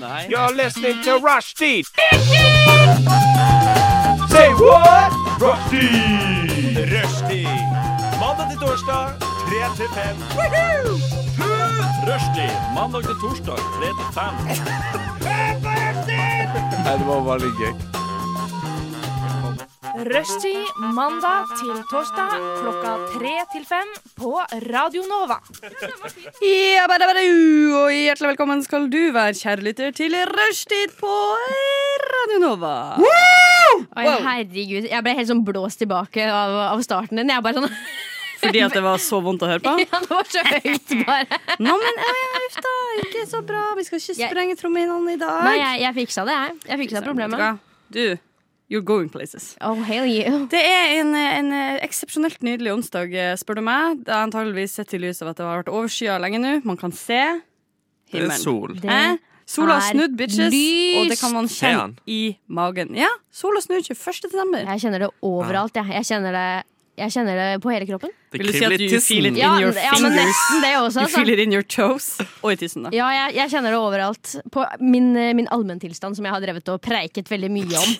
Nei. You're listening to Rushdie. Say what? Rushdie. Rushdie. Mandag til torsdag, 3 til 5. Rushdie. Mandag til torsdag, 3 til 5. Nei, det var veldig gøy. Rushtid mandag til torsdag klokka tre til fem på Radio Nova. Jabadabadu, og hjertelig velkommen skal du være, kjære lytter, til Rushtid på Radio Nova. Oi, herregud, Jeg ble helt sånn blåst tilbake av, av starten din. Jeg bare sånn Fordi at det var så vondt å høre på. Ja, det var så høyt, bare. Nå, men ja, ja, uff da, ikke så bra. Vi skal ikke Jeg- sprenge trommehinnene i dag. Nei, jeg, jeg fiksa det, jeg. Jeg fiksa problemet. Du, you're going places. Oh, hell you. Det er en, en eksepsjonelt nydelig onsdag, spør du meg. Det er antageligvis sett i lys av at det har vært overskyet lenge nå. Man kan se Det er himmelen. sol. Det Eh? Sola har er snudd, bitches, og det lyst. kan man Ser kjenne han? i magen. Ja, sola snur 21. desember. Jeg kjenner det overalt, jeg. Jeg kjenner det, jeg kjenner det på hele kroppen. Det Vil du si at kribler du i tissen. filer Ja, In your ja men fingers. nesten det også. You feel Altså. it in your toes. Og i tissen, da. Ja, jeg, jeg kjenner det overalt. På min, eh, min allmenntilstand som jeg har drevet og preiket veldig mye om.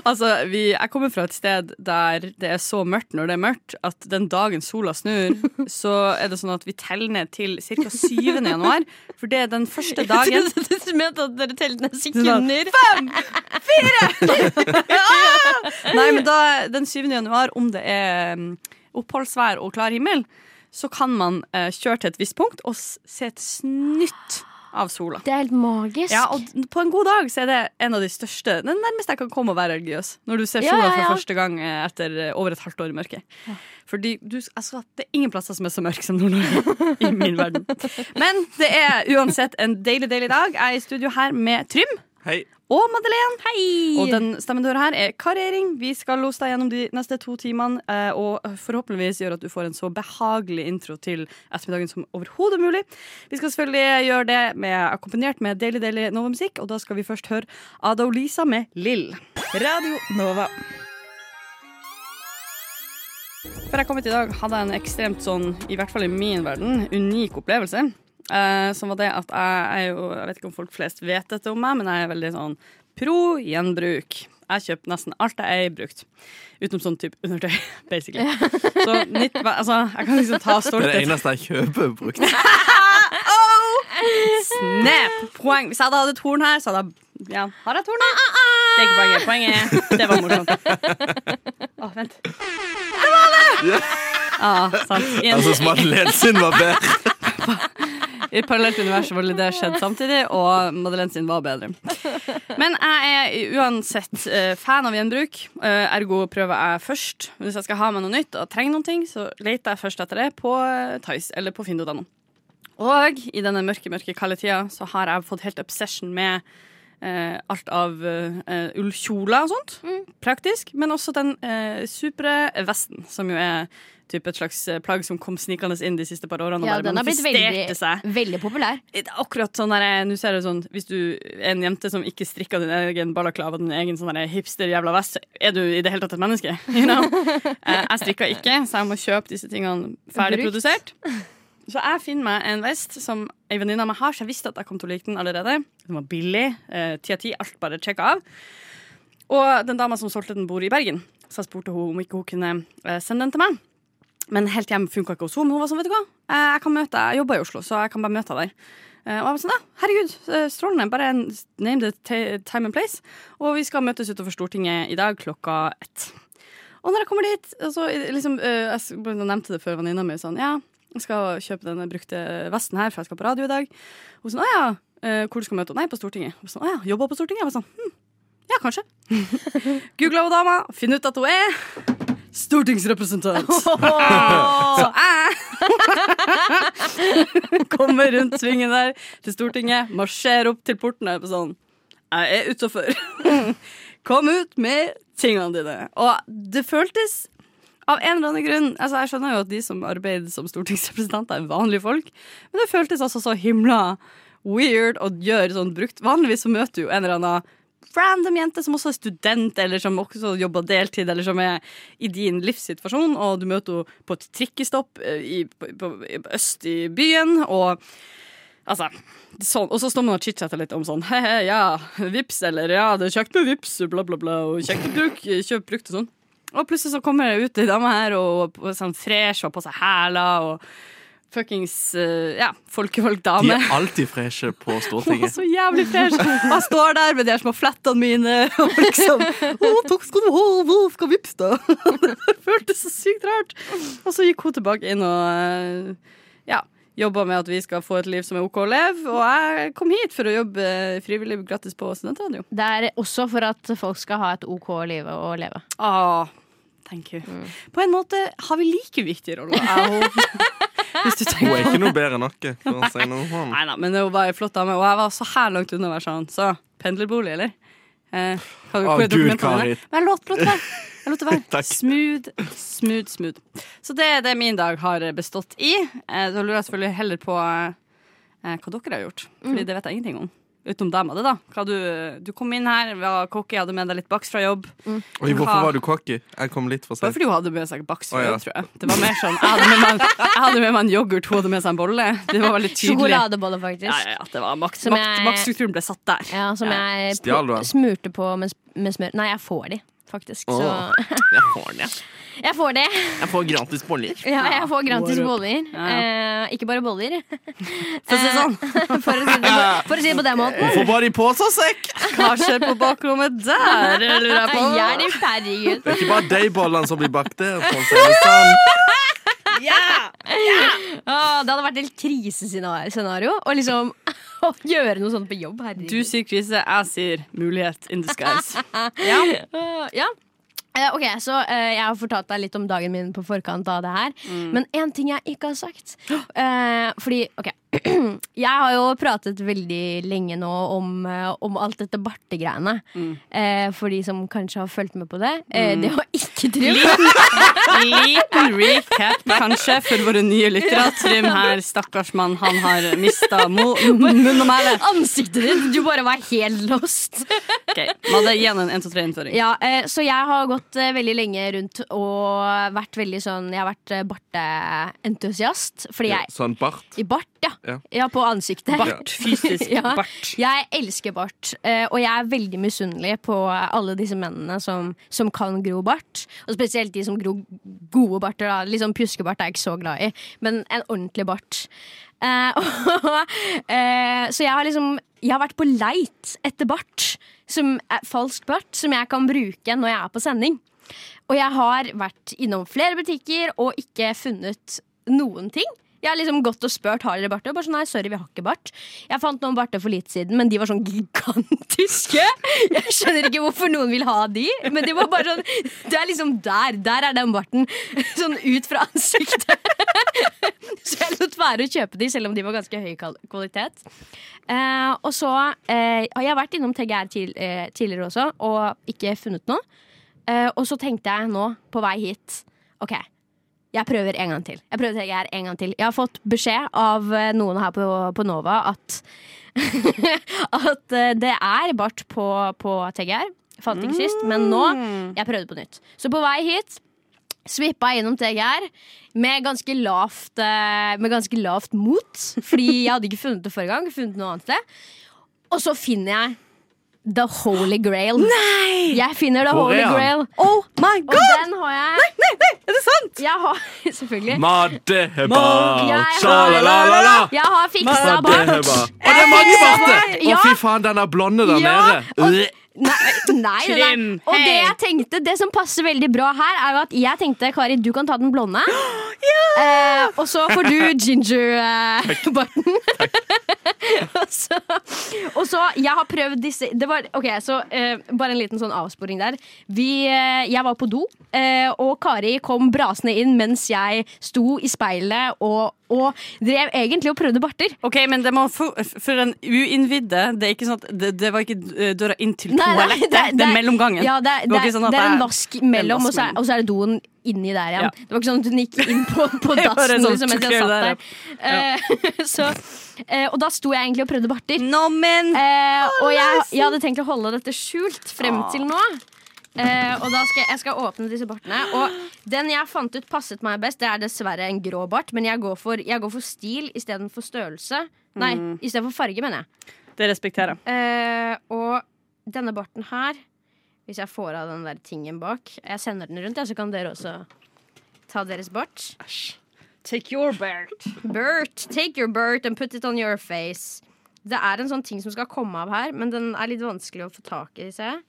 Altså, vi, jeg kommer fra et sted der det er så mørkt når det er mørkt, at den dagen sola snur, så er det sånn at vi teller ned til ca. 7. januar. For det er den første dagen Jeg trodde du mente at dere telte ned sekunder. sekunder. Nei, men da, den 7. januar, om det er mm, oppholdsvær og klar himmel, så kan man eh, kjøre til et visst punkt og s- se et snytt av sola. Det er helt magisk. Ja, og d- på en god dag så er det en av de største Den nærmeste jeg kan komme å være religiøs. Når du ser Ja, sola ja, ja. for første gang eh, etter eh, over et halvt år i mørket. Fordi du, altså, Det er ingen plasser som er så mørke som Nord-Norge i min verden. Men det er uansett en deilig, deilig dag. Jeg er i studio her med Trym Hei. og Madeleine. Og den stemmen du hører her, er karering. Vi skal lose deg gjennom de neste to timene, eh, og forhåpentligvis gjøre at du får en så behagelig intro til ettermiddagen som overhodet mulig. Vi skal selvfølgelig gjøre det med, akkompagnert med deilig, deilig Nova-musikk, og da skal vi først høre Ada og Lisa med Lill. Radio Nova. Før jeg kom hit i dag, hadde jeg en ekstremt sånn, i hvert fall i min verden, unik opplevelse. Eh, som var det at jeg, jeg, er jo, jeg vet ikke om folk flest vet dette om meg, men jeg er veldig sånn pro gjenbruk. Jeg kjøper nesten alt jeg eier brukt. Utenom sånn type undertøy, basically. Så nytt, altså, jeg kan liksom ta Det er det stolthet Oh! eneste jeg kjøper brukt. Snap! Poeng. Hvis jeg hadde hatt et horn her, så hadde jeg ja, Har jeg et horn? Ah, her? Det er ikke poenget. Poenget Det var morsomt. Å, vent. Det var det! Ja, sant. I, Jeg en, syns Altså, Madeleine sin var bedre. I et parallelt univers så ville det skjedd samtidig, og Madeleine sin var bedre. Men jeg er uansett eh, fan av gjenbruk, eh, ergo prøver jeg først. Hvis jeg skal ha meg noe nytt og trenger noen ting, så leter jeg først etter det på eh, Tice eller på finn.no. Og i denne mørke, mørke kalde tida så har jeg fått helt obsession med eh, alt av eh, ullkjoler og sånt. Mm. Praktisk. Men også den eh, supre vesten, som jo er typ et slags eh, plagg som kom snikende inn de siste par årene. og Ja, bare den har blitt manifesterte veldig, seg. veldig populær. Det er akkurat sånn der, nå ser jeg det sånn, Hvis du er en jente som ikke strikker din egen balaklava, din egen sånn der hipster-jævla vest, så er du i det hele tatt et menneske? You know? Eh, jeg strikker ikke, så jeg må kjøpe disse tingene ferdig Brukt. produsert. Så jeg finner meg en vest som ei venninne av meg har, så jeg visste at jeg kom til å like den allerede. Den var billig. eh, Ti av ti, alt bare sjekka av. Og den dama som solgte den, bor i Bergen, så jeg spurte hun om ikke hun kunne eh, sende den til meg. Men helt hjem funka ikke hos henne. Men hun var sånn, vet du hva, eh, jeg kan møte deg. Jeg jobber i Oslo, så jeg kan bare møte deg der. Eh, Og jeg var sånn, ja, herregud, eh, strålende. Bare en- name the ta- time and place. Og vi skal møtes utenfor Stortinget i dag klokka ett. Og når jeg kommer dit, og så liksom, eh, jeg s- jeg nevnte det før venninna mi, sånn, ja, jeg skal kjøpe denne brukte vesten her, for jeg skal på radio i dag. Hun sånn, å ja, eh, hvor du skal møte? Nei, på Stortinget. Hun sånn, å ja, jobber på Stortinget? Jeg var sånn, hm, ja, kanskje. Googlet hun dama, finner ut at hun er stortingsrepresentant. Så jeg kommer rundt svingen der til Stortinget, marsjerer opp til porten og er på sånn Jeg er utafor. Kom ut med tingene dine. Og det føltes av en eller annen grunn altså Jeg skjønner jo at de som arbeider som stortingsrepresentanter, er vanlige folk, men det føltes altså så himla weird å gjøre sånn brukt. Vanligvis så møter du jo en eller annen random jente som også er student, eller som også jobber deltid, eller som er i din livssituasjon, og du møter henne på et trikkestopp eh, i, på, på, i øst i byen, og Altså, sånn. Og så står man og chitchatter litt om sånn He-he, ja, vips, eller ja, det er kjekt med vips, bla, bla, bla, og kjekt å bruke, kjøp brukt og sånn. Og plutselig så kommer det ut ei dame her og, og sånn fresh og på seg hæler og fuckings eh, ja, folkevalgt De dame. er alltid freshe Hun på var Stortinget. så jævlig fresh. Og Jeg står der med de her små flettene mine og liksom Å, takk skal du ha, hva skal vips, da? Det føltes så sykt rart. Og så gikk hun tilbake inn og eh, ja, jobba med at vi skal få et liv som er OK å leve. Og jeg kom hit for å jobbe frivillig gratis på studentradio. Det er også for at folk skal ha et OK liv å leve. Ah, thank you. Mm. På en måte har vi like viktige roller, jeg og hun. Hvis du Hun tenker er ikke noe bedre enn oss. for å si noe sånn. Nei da, men det var ei flott dame, og jeg var så her langt unna å være sånn. Så pendlerbolig, eller? Eh, kan, Å, hvor er Gud, dokumentene? Kari. Men jeg lot lot det være. Jeg lot det være. Takk. smooth, smooth, smooth. Så det er det min dag har bestått i. Eh, da lurer jeg selvfølgelig heller på eh, hva dere har gjort, Fordi det vet jeg ingenting om. Utenom deg, Madde, da. Hva du, du kom inn her, var kokke, hadde med deg litt bakst fra jobb. Oi, hvorfor var du cocky? Jeg kom litt for Bare sent. fordi hun hadde med seg baks fra Å, ja. jobb, tror jeg. Det var mer sånn, jeg hadde, med meg, en- jeg hadde med meg en yoghurt, hun hadde med seg en bolle. Det var veldig tydelig. Sjokoladeboller, faktisk. Ja, ja, ja, det var makt, Som makt, jeg- maktstrukturen ble satt der. Ja, som Ja. jeg Stjal du den? smurte på med, med smør. Nei, jeg får de, faktisk. Åh. Så Jeg får den, ja. jeg får det. Jeg får gratis boller. Ja, jeg får gratis What up? boller. Ja, Eh, ikke bare boller. For å si det sånn, For å si det, for å si det på den måten. Hvorfor bare i posesekk? hva skjer på bakrommet der, lurer jeg på? Jeg er i herregud. Det er ikke bare de bollene som blir bakt der. for å si det sånn. Åh, det hadde vært et krisescenario å liksom å gjøre noe sånt på jobb. Herregud. Du sier krise, jeg sier mulighet in disguise. Åh, ja. Eh, Ok, så eh, Jeg har fortalt deg litt om dagen min på forkant av det her. Men én ting jeg ikke har sagt. Eh, fordi, ok Jeg har jo pratet veldig lenge nå om, eh, om alt dette bartegreiene. Eh, for de som kanskje har fulgt med på det. Eh, det var ikke Trym. Liten recap kanskje for våre nye lyttere. Trym her, stakkars mann, han har mista mo- munn og mæle. Ansiktet ditt! Du bare var helt lost. Ok, Madde, gi han en 1, 2, 3-innføring. Ja, eh, Så jeg har gått eh, veldig lenge rundt og vært veldig sånn Jeg har vært eh, barteentusiast. Fordi jeg Sånn bart. I bart, ja. Ja. ja. på ansiktet. Bart, fysisk Ja. bart. Jeg elsker bart, eh, og jeg er veldig misunnelig på alle disse mennene som, som kan gro bart. Og spesielt de som gror gode barter. Da. Liksom Pjuskebart er jeg ikke så glad i, men en ordentlig bart. Eh, og, eh, så jeg har liksom Jeg har vært på leit etter bart. Som er falsk bart som jeg kan bruke når jeg er på sending. Og jeg har vært innom flere butikker og ikke funnet noen ting. Jeg har liksom gått og spurt har dere bart. Og bare sånn, nei, sorry, vi har ikke bart. Jeg fant noen barter for litt siden, men de var sånn gigantiske. Jeg skjønner ikke hvorfor noen vil ha de, men de var bare sånn Det er liksom der. Der er den barten. Sånn ut fra ansiktet. Så jeg lot være å kjøpe de, selv om de var ganske høy kal- kvalitet. Eh, og så eh, har jeg vært innom TGR til, eh, tidligere også og ikke funnet noe. Eh, og så tenkte jeg nå, på vei hit OK, jeg prøver en gang til. Jeg prøver TGR en gang til. Jeg har fått beskjed av eh, noen her på, på Nova at At eh, det er bart på, på TGR. Fant ikke sist, men nå Jeg prøvde på nytt. Så på vei hit Svippa jeg innom TGR med ganske lavt, eh, med ganske lavt mot. Fordi jeg hadde ikke funnet det forrige gang. Funnet noe annet sted. Og så finner jeg The Holy Grail. Nei! Jeg finner The Hvor Holy er han? Grail. Oh my Og den har jeg Er det sant? Jeg har selvfølgelig Maddehebar, Jeg sjalalala. har, jeg har fiksa bart. Maddehebar. Å, det er mange barter! Å, Ja. fy faen, den er blonde der Ja, nede. Nei, nei, nei, nei. Trym, Og det hei. jeg tenkte Det som passer veldig bra her, er jo at jeg tenkte Kari, du kan ta den blonde. Eh, og så får du ginger-barten. og, så, og så Jeg har prøvd disse det var, Ok, så eh, Bare en liten sånn avsporing der. Vi, eh, jeg var på do, eh, og Kari kom brasende inn mens jeg sto i speilet og, og drev egentlig og prøvde barter. Ok, men det må for, for den uinnvidde Det er ikke sånn at det, det var ikke eh, døra inn til Nei, nei, toalettet. Det, er mellomgangen. Ja, det, er- var det, ikke er- sånn at det er jeg- en vask mellom, og så er, mellom. og så er det doen inni der igjen. Ja. Det var ikke sånn at hun gikk inn på, på Det var bare dassen sånn, liksom, mens jeg «Clear satt that der. up». Eh, så, eh, og da sto jeg egentlig og prøvde barter. Nå, men Eh, Ah, og jeg, jeg hadde tenkt å holde dette skjult frem til nå. Eh, og da skal jeg, jeg skal åpne disse bartene. Og den jeg fant ut passet meg best, det er dessverre en grå bart, men jeg går for, jeg går for stil istedenfor størrelse. Nei, Mm. istedenfor farge, mener jeg. Det respekterer jeg. Eh, og denne barten her Hvis jeg får av den der tingen bak Jeg sender den rundt, ja, så kan dere også ta deres bart. Take your belt. Bert, take your bert and put it on your face. Det er en sånn ting som skal komme av her, men den er litt vanskelig å få tak i. ser jeg.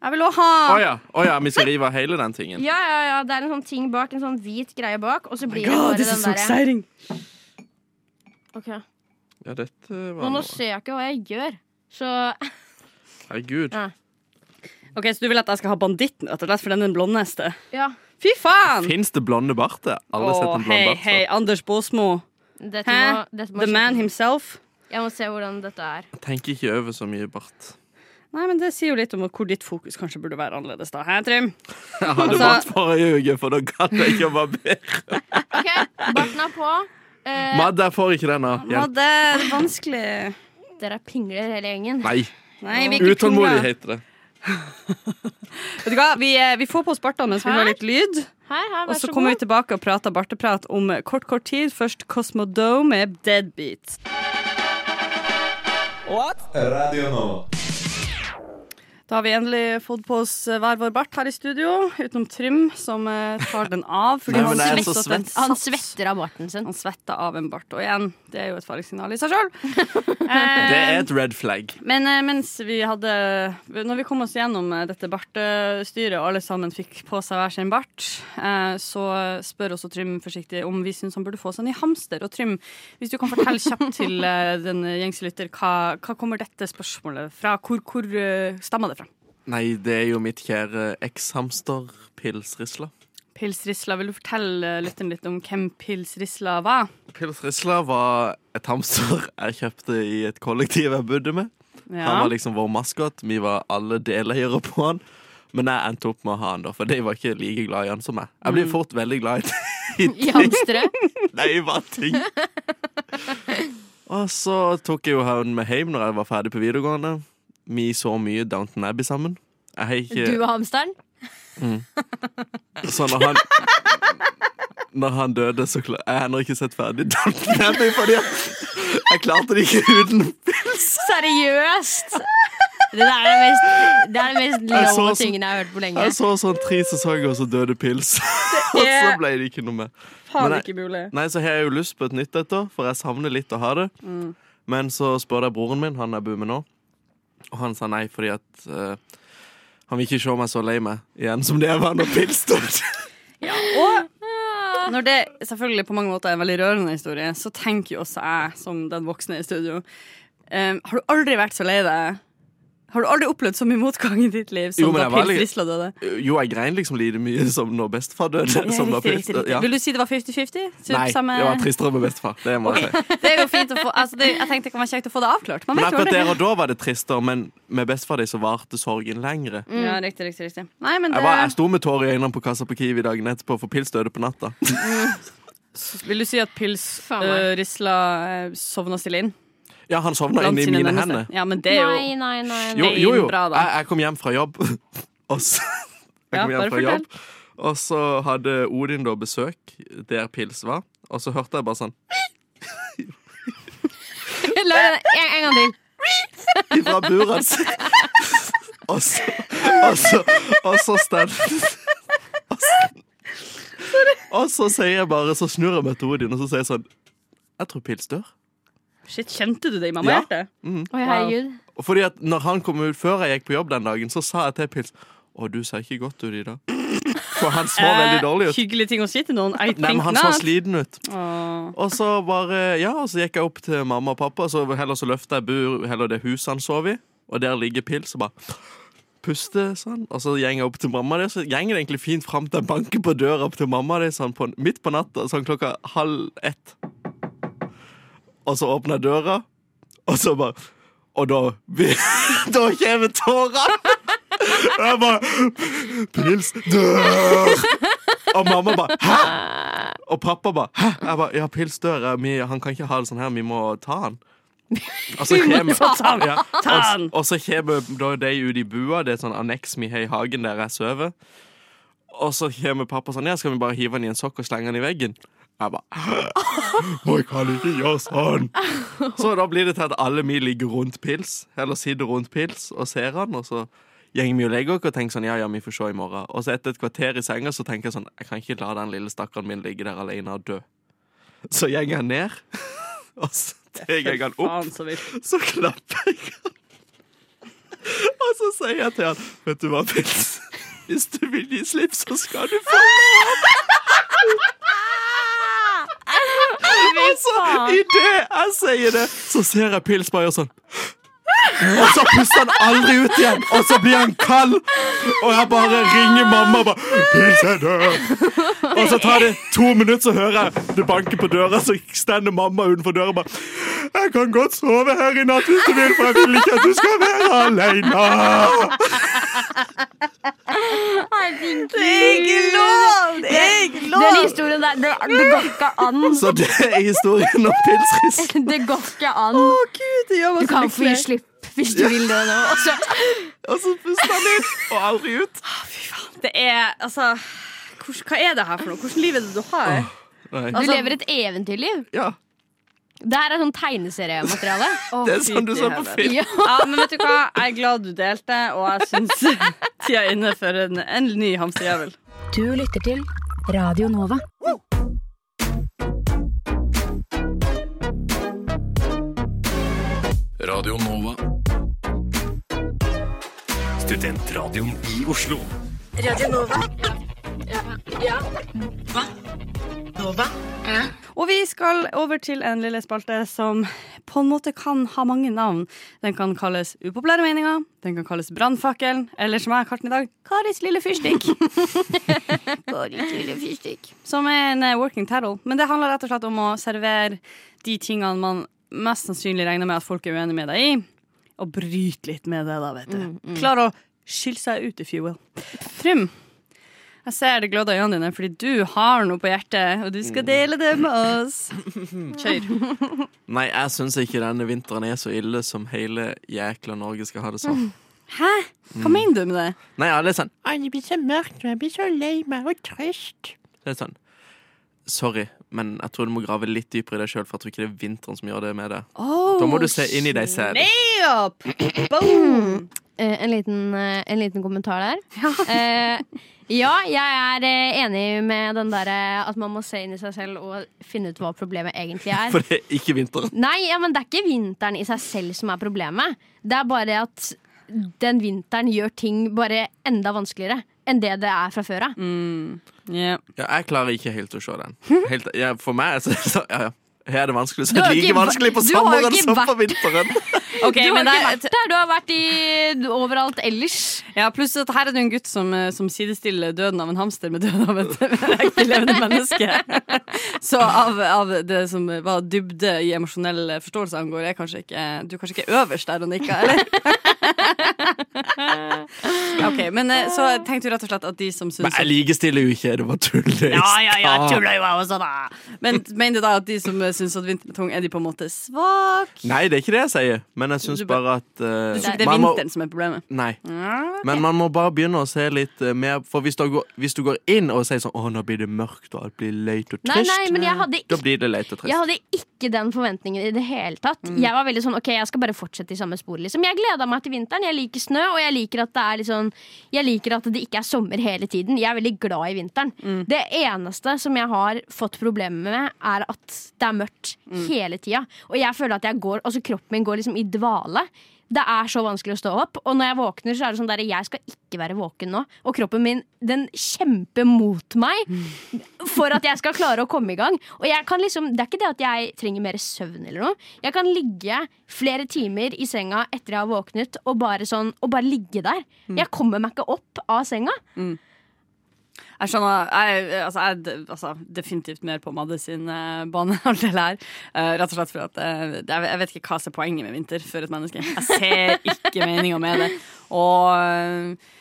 Jeg vil også ha Å ja. å ja, vi skal rive av hele den tingen. Ja, ja, ja, Det er en sånn ting bak, en sånn hvit greie bak, og så blir Oh God, det this bare is so den derre exciting. Ok. Ja, dette Nå, var nå noe. ser jeg ikke hva jeg gjør, så Herregud. Ok, Så du vil at jeg skal ha banditten, rett og slett, for den er den blondeste? ja. Fy faen! Fins det blonde barter? Alle har sett altså. Å, en blond hei, bart hei, før. Anders Baasmo. Dette må, Hæ? dette må The man sjekkes. himself. Jeg må se hvordan dette er. Tenker ikke over så mye bart. Nei, men Det sier jo litt om hvor ditt fokus kanskje burde være annerledes. da, Hæ, Trym? Jeg hadde Altså- bart forrige uke, for da gadd jeg ikke å barbere. Ok, Barten er på. Eh, Madde, jeg får ikke den nå. Ja, Hjelp. det er vanskelig. Dere er pingler hele gjengen. Nei. Nei, vi er ikke Utålmodig pingla. heter det. Vet du hva, vi, eh, vi får på oss bartene mens vi Her? har litt lyd. Her, her, Og vær så så kommer god. vi tilbake og prater barteprat om kort, kort tid. Først Cosmodome med Deadbeat. Radio Nova. Da har vi endelig fått på oss eh, hver vår bart her i studio, utenom Trym, som eh, tar den av. Fordi Nei, men han jeg er så svetter at den svett. Han satt. svetter av barten sin. Han svetter av en bart. Og igjen, det er jo et faresignal i seg sjøl. Eh, Det er et red flag. Men eh, mens vi hadde Når vi kom oss gjennom eh, dette bartestyret, og alle sammen fikk på seg hver sin bart, eh, så spør også Trym forsiktig om vi syns han burde få seg en ny hamster. Og Trym, hvis du kan fortelle kjapt til eh, den gjengse lytter, hva, hva kommer dette spørsmålet fra? Hvor, hvor eh, stammer det fra? Nei, det er jo mitt kjære eks-hamster-Pils-Risla. Pils Risla, vil du fortelle eh, lytteren litt om hvem Pils Risla var? Pils Risla var et hamster jeg kjøpte i et kollektiv jeg bodde med. Han Ja. var liksom vår maskot. Vi var alle deleiere på han. Men jeg endte opp med å ha han, da, for de var ikke like glad i han som meg. Jeg blir Mm. fort veldig glad i, i I hamstere. Nei, hva ting? Og så tok jeg jo han med hjem når jeg var ferdig på videregående. Vi så mye Downton Abbey sammen. Jeg har ikke... Du og hamsteren. Så når han Når han døde, så klar, Jeg har ennå ikke sett ferdig Downton Abbey, fordi jeg, jeg klarte det ikke uten Seriøst! Det der er det mest, det er det mest Jeg så low som- tingen jeg har hørt på lenge. Jeg så sånn tre sesonger, og så døde pils. Og så ble det ikke noe mer. Faen Men jeg- ikke mulig. Nei, så har jeg jo lyst på et nytt et, da, for jeg savner litt å ha det. Men så spør jeg broren min, han jeg bor med nå, og han sa nei fordi at eh, han vil ikke se meg så lei meg igjen som det jeg var når pils døde. Og når det selvfølgelig på mange måter er en veldig rørende historie, så tenker jo også jeg, som den voksne i studio eh, Har du aldri vært så lei deg? Har du aldri opplevd så mye motgang i ditt liv som Jo, men da jeg var Pils litt- Risla døde? Jo, jeg grein liksom like mye som når bestefar døde. Ja, som da riktig, Pils riktig, døde. riktig. Ja. Vil du si det var 50-50? Typ Nei, samme- det var tristere med bestefar. Det må jeg si. Det er jo fint å få altså det, Jeg tenkte det kan være kjekt å få det avklart. Man Men vet jo akkurat aldri. der og da var det tristere, men med bestefar din så varte sorgen lengre. Ja, riktig, riktig, riktig. Nei, men Mm, det, Jeg, var, jeg sto med tårer i øynene på kassa på Kiwi dagen etterpå for pils døde på natta. Vil du si at Pils Faen eh, meg. Risla eh, sovna stille inn? Ja, han sovna inni sine mine nærmeste? hender. Ja, men det er jo Nei, nei, nei. Jo, nei. Det er jo, jo. bra, da. Jeg, jeg kom hjem fra jobb, og så Jeg Ja, kom hjem bare fra fortell. jobb, og så hadde Odin da besøk der pils var, og så hørte jeg bare sånn La den- en, en gang til. ifra buret sitt. Og så Og så Og så stand og så- Og så sier jeg bare Så snur jeg meg til Odin og så sier jeg sånn Jeg tror pils dør. Shit, kjente du det i Ja. mammahjertet? Oi, herregud. Og Fordi at når han kom ut før jeg gikk på jobb den dagen, så sa jeg til pils Å, du ser ikke godt ut i dag. For han så veldig dårlig ut. Hyggelig Eh, ting å si til noen. I Nei, men think han så not. sliten ut. Åh. Og så bare, ja, og så gikk jeg opp til mamma og pappa, så heller så løftet jeg bur, heller det huset han sov i, og der ligger pils, og bare puste sånn. Og så gjenger jeg opp til mamma, det, så gjenger det egentlig fint frem til jeg banker på døra opp til mamma, det, sånn på, midt på natta, sånn klokka halv ett. Og så åpner jeg døra, og så bare, og da, da kommer tårene. Og jeg bare, pils dør! Og mamma bare, hæ? Og pappa bare Hæ? Jeg bare, ja, pils dør. ja, Vi, han kan ikke ha det sånn her. Vi må ta han. Og så kommer han. ja, og, han. og så kommer da de ut i bua. Det er et sånn anneks vi har i hagen der jeg sover. Og så kommer pappa sånn Ja, skal vi bare hive han i en sokk og slenge han i veggen? Jeg bare Man kan ikke gjøre sånn! Så da blir det til at alle vi ligger rundt pils, eller sitter rundt pils og ser han, og så går vi og legger oss og tenker sånn Ja, ja, vi får se i morgen. Og så etter et kvarter i senga så tenker jeg sånn Jeg kan ikke la den lille stakkaren min ligge der alene og dø. Så går jeg ned, og så tar jeg han opp. Faen, så vilt. Så klapper jeg han. Og så sier jeg til han Vet du hva, Pils? Hvis du vil gi slipp, så skal du få Ah! lov. Og så idet jeg sier det, så ser jeg Pils bare gjøre sånn. Og så puster han aldri ut igjen, og så blir han kald. Og jeg bare ringer mamma og bare 'Pils er død'. Og så tar det to minutter, så hører jeg det banker på døra, så stender mamma utenfor døra og bare 'Jeg kan godt sove her i natt hvis du vil, for jeg vil ikke at du skal være aleine'. Den historien der, det, det går ikke an. Så det er historien om pilsriss. Det går ikke an. Du kan få gi slipp hvis du vil det nå. Altså, Og så Og så puster han inn, og aldri ut. Det er altså hvordan, Hva er det her for noe? Hvordan liv er det du har? Nei. Du lever et eventyrliv. Ja, Det her er sånn tegneseriemateriale. det er sånn du så på film. Ja. Ja, men vet du hva? Jeg er glad du delte, og jeg syns tida er inne for en, en ny hamsterjævel. Du lytter til Radio Nova. Radio Nova. Studentradioen i Oslo. Og vi skal over til en lille spalte som på en måte kan ha mange navn. Den kan kalles Upopulære meninger, den kan kalles Brannfakkelen, eller som jeg har kalt den i dag, Karis lille fyrstikk. Som er en eh, working title. Men det handler rett og slett om å servere de tingene man mest sannsynlig regner med at folk er uenig med deg i, og bryte litt med det, da, vet du. Klar å skille seg ut, if you will. Trym, jeg ser det gløder i øynene dine fordi du har noe på hjertet, og du Mm. skal dele det med oss. Kjør. Nei, jeg syns ikke denne vinteren er så ille som hele jækla Norge skal ha det sånn. Hæ? Hva mener du med det? Nei, alle er sånn Å, det blir så mørkt, og jeg blir så lei meg og trøst. Det er sånn Sorry, men jeg tror du må grave litt dypere i deg sjøl, for jeg tror ikke det er vinteren som gjør det med deg. Da må du se inn i deg selv. Snap! Boom! Eh, en, liten, eh, en liten kommentar der. Eh, ja, jeg er eh, enig med den derre at man må se inn i seg selv og finne ut hva problemet egentlig er. For det er ikke vinteren. Nei, ja, men det er ikke vinteren i seg selv som er problemet. Det er bare at den vinteren gjør ting bare enda vanskeligere enn det det er fra før av. Mm. Ja. Ja, jeg klarer ikke helt å se den. Helt, ja, for meg er det så, ja, ja. Her er det vanskelig, så Du det har er like ikke vært- vanskelig på du har sommeren ikke som på vært- vinteren. Ok, Du har men ikke det, vært der, du har vært i, overalt ellers. Ja, pluss at her er det jo en gutt som, eh, som sidestiller døden av en hamster med døden av et ekte levende menneske. Så av, av det som var dybde i emosjonell forståelse angår, er kanskje ikke Du er kanskje ikke øverst der og nikker, eller? Ja, OK, men eh, så tenkte du rett og slett at de som syns Men jeg likestiller jo ikke, det var tull. det ja, jeg ja, ja, sa. tuller jo jeg også, da. Men mener du da at de som eh, syns at vinterbeton er de på en måte svake? Nei, det er ikke det jeg sier, men jeg syns Du bare- bare at eh, Det er man må- vinteren som er problemet. Nei. Mm, Men man må bare begynne å se litt eh, mer For hvis du, går, hvis du går inn og sier sånn Å, nå blir det mørkt, og alt blir leit og Nei, trist, nei, men jeg hadde da blir det leit og trist. Jeg hadde ikke den forventningen i det hele tatt. Jeg var veldig sånn, ok, jeg skal bare fortsette i samme spor. Liksom. Jeg gleda meg til vinteren. Jeg liker snø, og jeg liker at det er litt sånn Jeg liker at det ikke er sommer hele tiden. Jeg er veldig glad i vinteren. Det eneste som jeg har fått problemer med, er at det er mørkt hele tida. Og jeg føler at jeg går Altså, kroppen min går liksom i dvale. Det er så vanskelig å stå opp, og når jeg våkner, så er det sånn der Jeg skal ikke være våken nå. Og kroppen min, den kjemper mot meg for at jeg skal klare å komme i gang. Og jeg kan liksom, Det er ikke det at jeg trenger mer søvn. eller noe Jeg kan ligge flere timer i senga etter jeg har våknet, og bare, sånn, og bare ligge der. Jeg kommer meg ikke opp av senga. Jeg skjønner, jeg, altså, jeg er altså, definitivt mer på Madde sin eh, banehalvdel her. Eh, rett og slett for at eh, det- jeg, jeg vet ikke hva som er poenget med vinter for et menneske. Jeg ser ikke meninga med det. Og eh,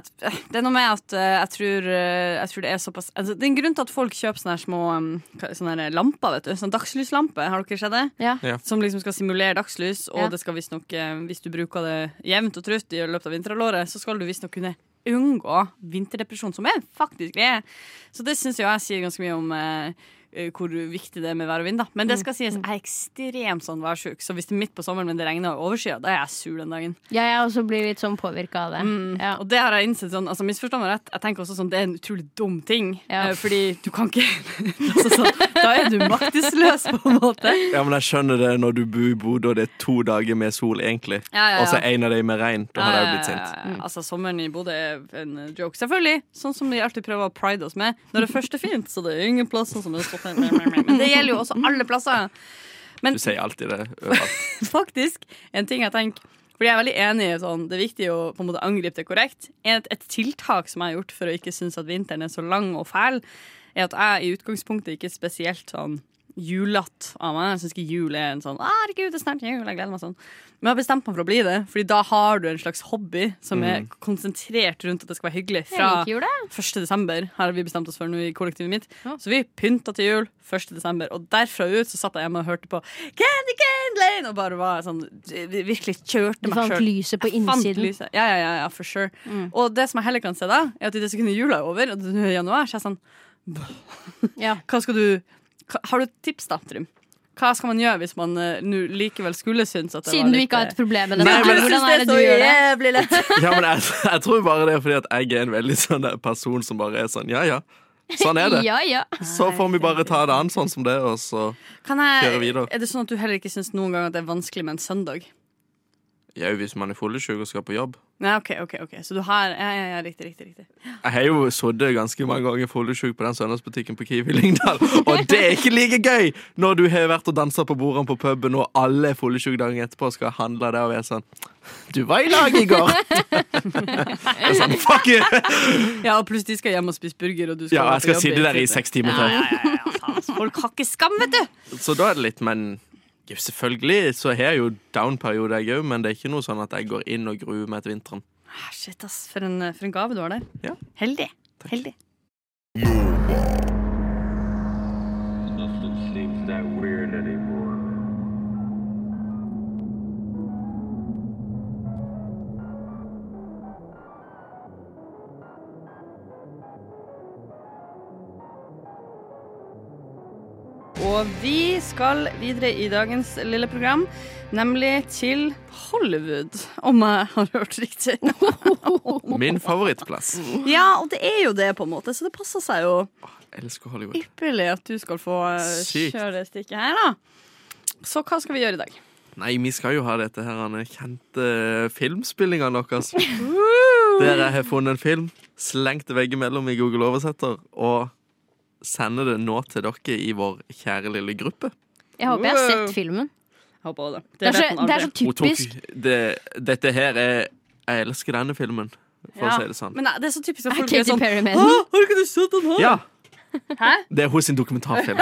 at, eh, det er noe med at eh, jeg tror, eh, jeg tror det er såpass altså, Det er en grunn til at folk kjøper sånne her små um, hva- sånne her lamper, vet du. Sånn dagslyslampe, har dere sett det? Ja. Ja. Som liksom skal simulere dagslys, og Ja. det skal visstnok, eh, hvis du bruker det jevnt og trutt i løpet av vinterhalvåret, så skal du visstnok kunne unngå vinterdepresjon, som er faktisk det. Så det syns jeg sier ganske mye om eh, eh, hvor viktig det er med vær og vind. da Men Mm. det skal sies, jeg er ekstremt sånn værsjuk, så hvis det er midt på sommeren men det regner og overskyet, da er jeg sur den dagen. Ja, jeg også blir litt sånn påvirka av det. Ja. Og det har jeg innsett sånn, altså misforstå meg rett, jeg tenker også sånn, det er en utrolig dum ting. Ja. eh, Fordi du kan ikke altså, sånn, Da er du maktesløs, på en måte. Ja, men jeg skjønner det når du bor i Bodø og det er to dager med sol, egentlig. Ja, ja, ja. Og så en av dem med regn. Da hadde jeg jo blitt Ja, ja, sint. ja, ja. Altså, sommeren i Bodø er en joke, selvfølgelig. Sånn som de alltid prøver å pride oss med. Når det først er fint, så det er ingen plass sånn som det er stopp. Men det gjelder jo også alle plasser. Du sier alltid det. overalt. Faktisk, en ting jeg tenker fordi jeg er veldig enig i sånn, Det er viktig å på en måte angripe det korrekt. Et, et tiltak som jeg har gjort for å ikke synes at vinteren er så lang og fæl, er at jeg i utgangspunktet ikke er spesielt sånn julete av meg. Jeg syns ikke jul er en sånn «Å, 'Herregud, det er snart jul', jeg gleder meg sånn. Men jeg har bestemt meg for å bli det, Fordi da har du en slags hobby som er konsentrert rundt at det skal være hyggelig. Jeg Fra liker jo det. 1. desember har vi bestemt oss for nå i kollektivet mitt. Ja. Så vi pynta til jul 1. desember. Og derfra ut så satt jeg hjemme og hørte på Candy Cane Lane! Og bare var sånn virkelig kjørte Du meg fant sjøl. lyset på Fant innsiden. Mm. lyset. Ja, ja, ja, ja, for sure. Og det som jeg heller kan se da, er at i det sekundet jula er over, og det nå er januar, så er jeg sånn Ja. Hva skal du hva, Har du et tips, da, Trym? Hva skal man gjøre hvis man eh, nå likevel skulle synes at det Siden var du litt, eh, ikke har et problem med det. Nei, men da. jeg eh, Hvordan synes er det det du er så gjør det? jævlig lett. Ja, men jeg, jeg tror bare det er fordi at jeg er en veldig sånn der person som bare er sånn ja, ja. Sånn er det. Ja, ja. Så får vi bare ta det an sånn som det, og så Kan Kjører jeg, videre. er det sånn at du heller ikke syns noen gang at det er vanskelig med en søndag? Ja, hvis man er fyllesyk og skal på jobb. Nei, ok, ok, ok Så du har Ja, ja, ja riktig, riktig, riktig. Jeg har jo sittet ganske mange ganger fyllesyk på den søndagsbutikken på Kiwi Lyngdal, og det er ikke like gøy når du har vært og dansa på bordene på puben, og alle er fyllesyke dagen etterpå og skal handle der og være sånn Du var i lag i går! Det er sånn, fuck you! Ja, og pluss de skal hjem og spise burger, og du skal Ja, være jeg på skal jobb sitte der i fire- seks timer til. Altså, Folk har ikke skam, vet du! Så da er det litt, men jo, Selvfølgelig så har jeg jo down-periode, jeg òg, men det er ikke noe sånn at jeg går inn og gruer meg til vinteren. Ah, shit, ass. For en, for en gave du har der. Ja. Heldig. Heldig. Nothing seems that weird anymore. Og vi skal videre i dagens lille program, nemlig til Hollywood. Om jeg har hørt riktig. Min favorittplass. ja, og det er jo det, på en måte, så det passer seg jo Jeg elsker Hollywood. ypperlig at du skal få eh, Sykt. kjøre det stikket her, da. Så hva skal vi gjøre i dag? Nei, vi skal jo ha dette her Anne, kjente filmspillingene deres. Der jeg har funnet en film, slengt det veggimellom i Google Oversetter, og sender det nå til dere i vår kjære lille gruppe. Jeg håper jeg har sett filmen. Jeg håper også det. Det er så, vet man det er aldri. så Hun tok- typisk. Det, dette her er Jeg elsker denne filmen, for Ja, å si det sånn. Men nei, det er så typisk at Er folk er Katy sånn Perry med Å, den? har ikke du sett den her? Ja, Hæ? det er hos sin dokumentarfilm.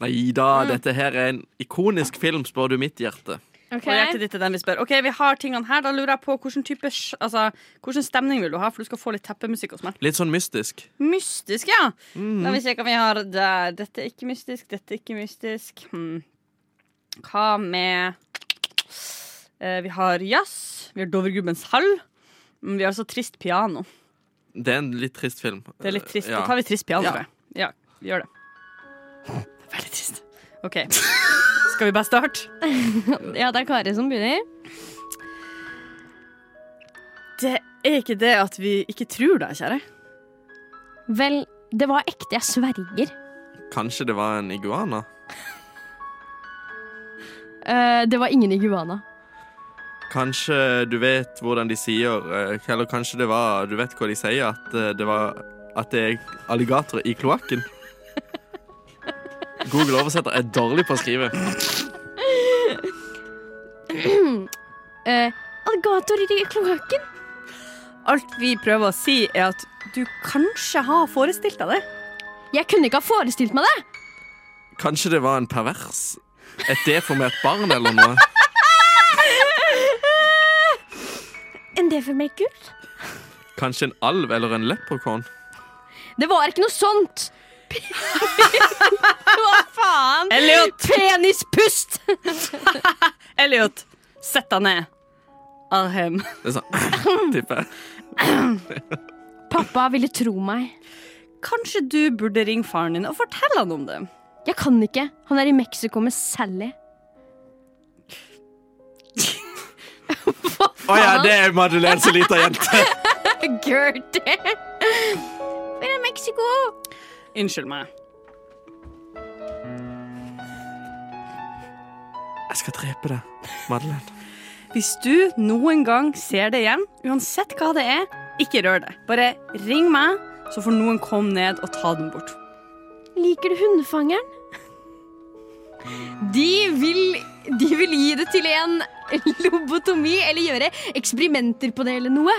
Nei da, dette her er en ikonisk film, spør du mitt hjerte. Og hjertet ditt er den vi spør. Ok, vi har tingene her. Da lurer jeg på hvilken type sj- Altså, hvilken stemning vil du ha? For du skal få litt teppemusikk hos meg. Litt sånn mystisk. Mystisk, ja. Mhm. La meg se hva vi har der. Dette er ikke mystisk, dette er ikke mystisk. Hmm. Hva med eh, Vi har jazz. Vi har Dovregubbens hall. Men vi har også trist piano. Det er en litt trist film. Det er litt trist. Ja. Da tar vi trist piano, Ja. tror jeg. Ja, vi gjør det. Det er veldig trist. OK. Skal vi bare starte? Ja, det er Kari som begynner. Det er ikke det at vi ikke tror deg, kjære. Vel, det var ekte. Jeg sverger. Kanskje det var en iguana? Eh, det var ingen iguana. Kanskje du vet hvordan de sier eh, Eller kanskje det var Du vet hva de sier, at eh, det var At det er alligatorer i kloakken. Google oversetter er dårlig på å skrive. Uh, Alligatorer i kloakken. Alt vi prøver å si, er at du kanskje har forestilt deg det. Jeg kunne ikke ha forestilt meg det! Kanskje det var en pervers? Et deformert barn eller noe? En deformert gutt? Kanskje en alv eller en leprechaun? Det var ikke noe sånt! Hva faen? Elliot! Penispust! Elliot! Sett deg ned. Arhem. Det er sånn tipper jeg. Pappa ville tro meg. Kanskje du burde ringe faren din og fortelle han om det. Jeg kan ikke. Han er i Mexico med Sally. Å ja, det er Madeleine som lita jente. Gertie. Vi er i Mexico. Unnskyld meg. Jeg skal drepe deg, Madeleine. Hvis du noen gang ser det igjen, uansett hva det er, ikke rør det. Bare ring meg, så får noen komme ned og ta den bort. Liker du hundefangeren? De vil, de vil gi det til en lobotomi eller gjøre eksperimenter på det eller noe.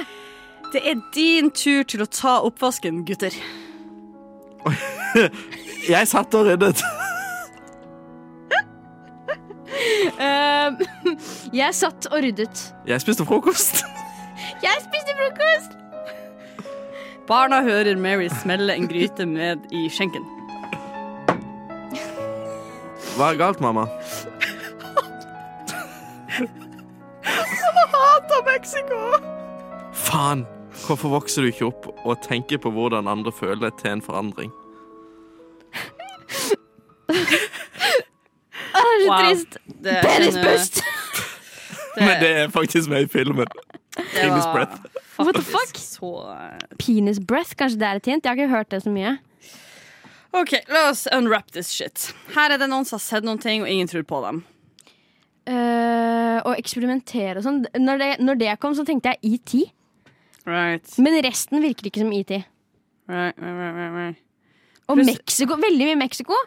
Det er din tur til å ta oppvasken, gutter. Jeg satt og ryddet. Ehm, jeg satt og ryddet. Jeg spiste frokost. Jeg spiste frokost! Barna hører Mary smelle en gryte med i skjenken. Hva er galt, mamma? Hata Mexico! Faen! Hvorfor vokser du ikke opp og tenker på hvordan andre føler til en forandring? Å, det er så Wow. trist. Det, eh, Penispust! Men det er faktisk med i filmen. det var penis breath. What the faktisk fuck? Så eh, Penis breath, kanskje det er et hint? Jeg har ikke hørt det så mye. OK, la oss unwrap this shit. Her er det noen som har sett noen ting, og ingen tror på dem. Eh, og eksperimentere og sånn. Når, det- når det kom, så tenkte jeg ET. Right, Men resten virker ikke som ET. right, right, right, right, right. Og Pluss- Mexico, veldig mye Mexico.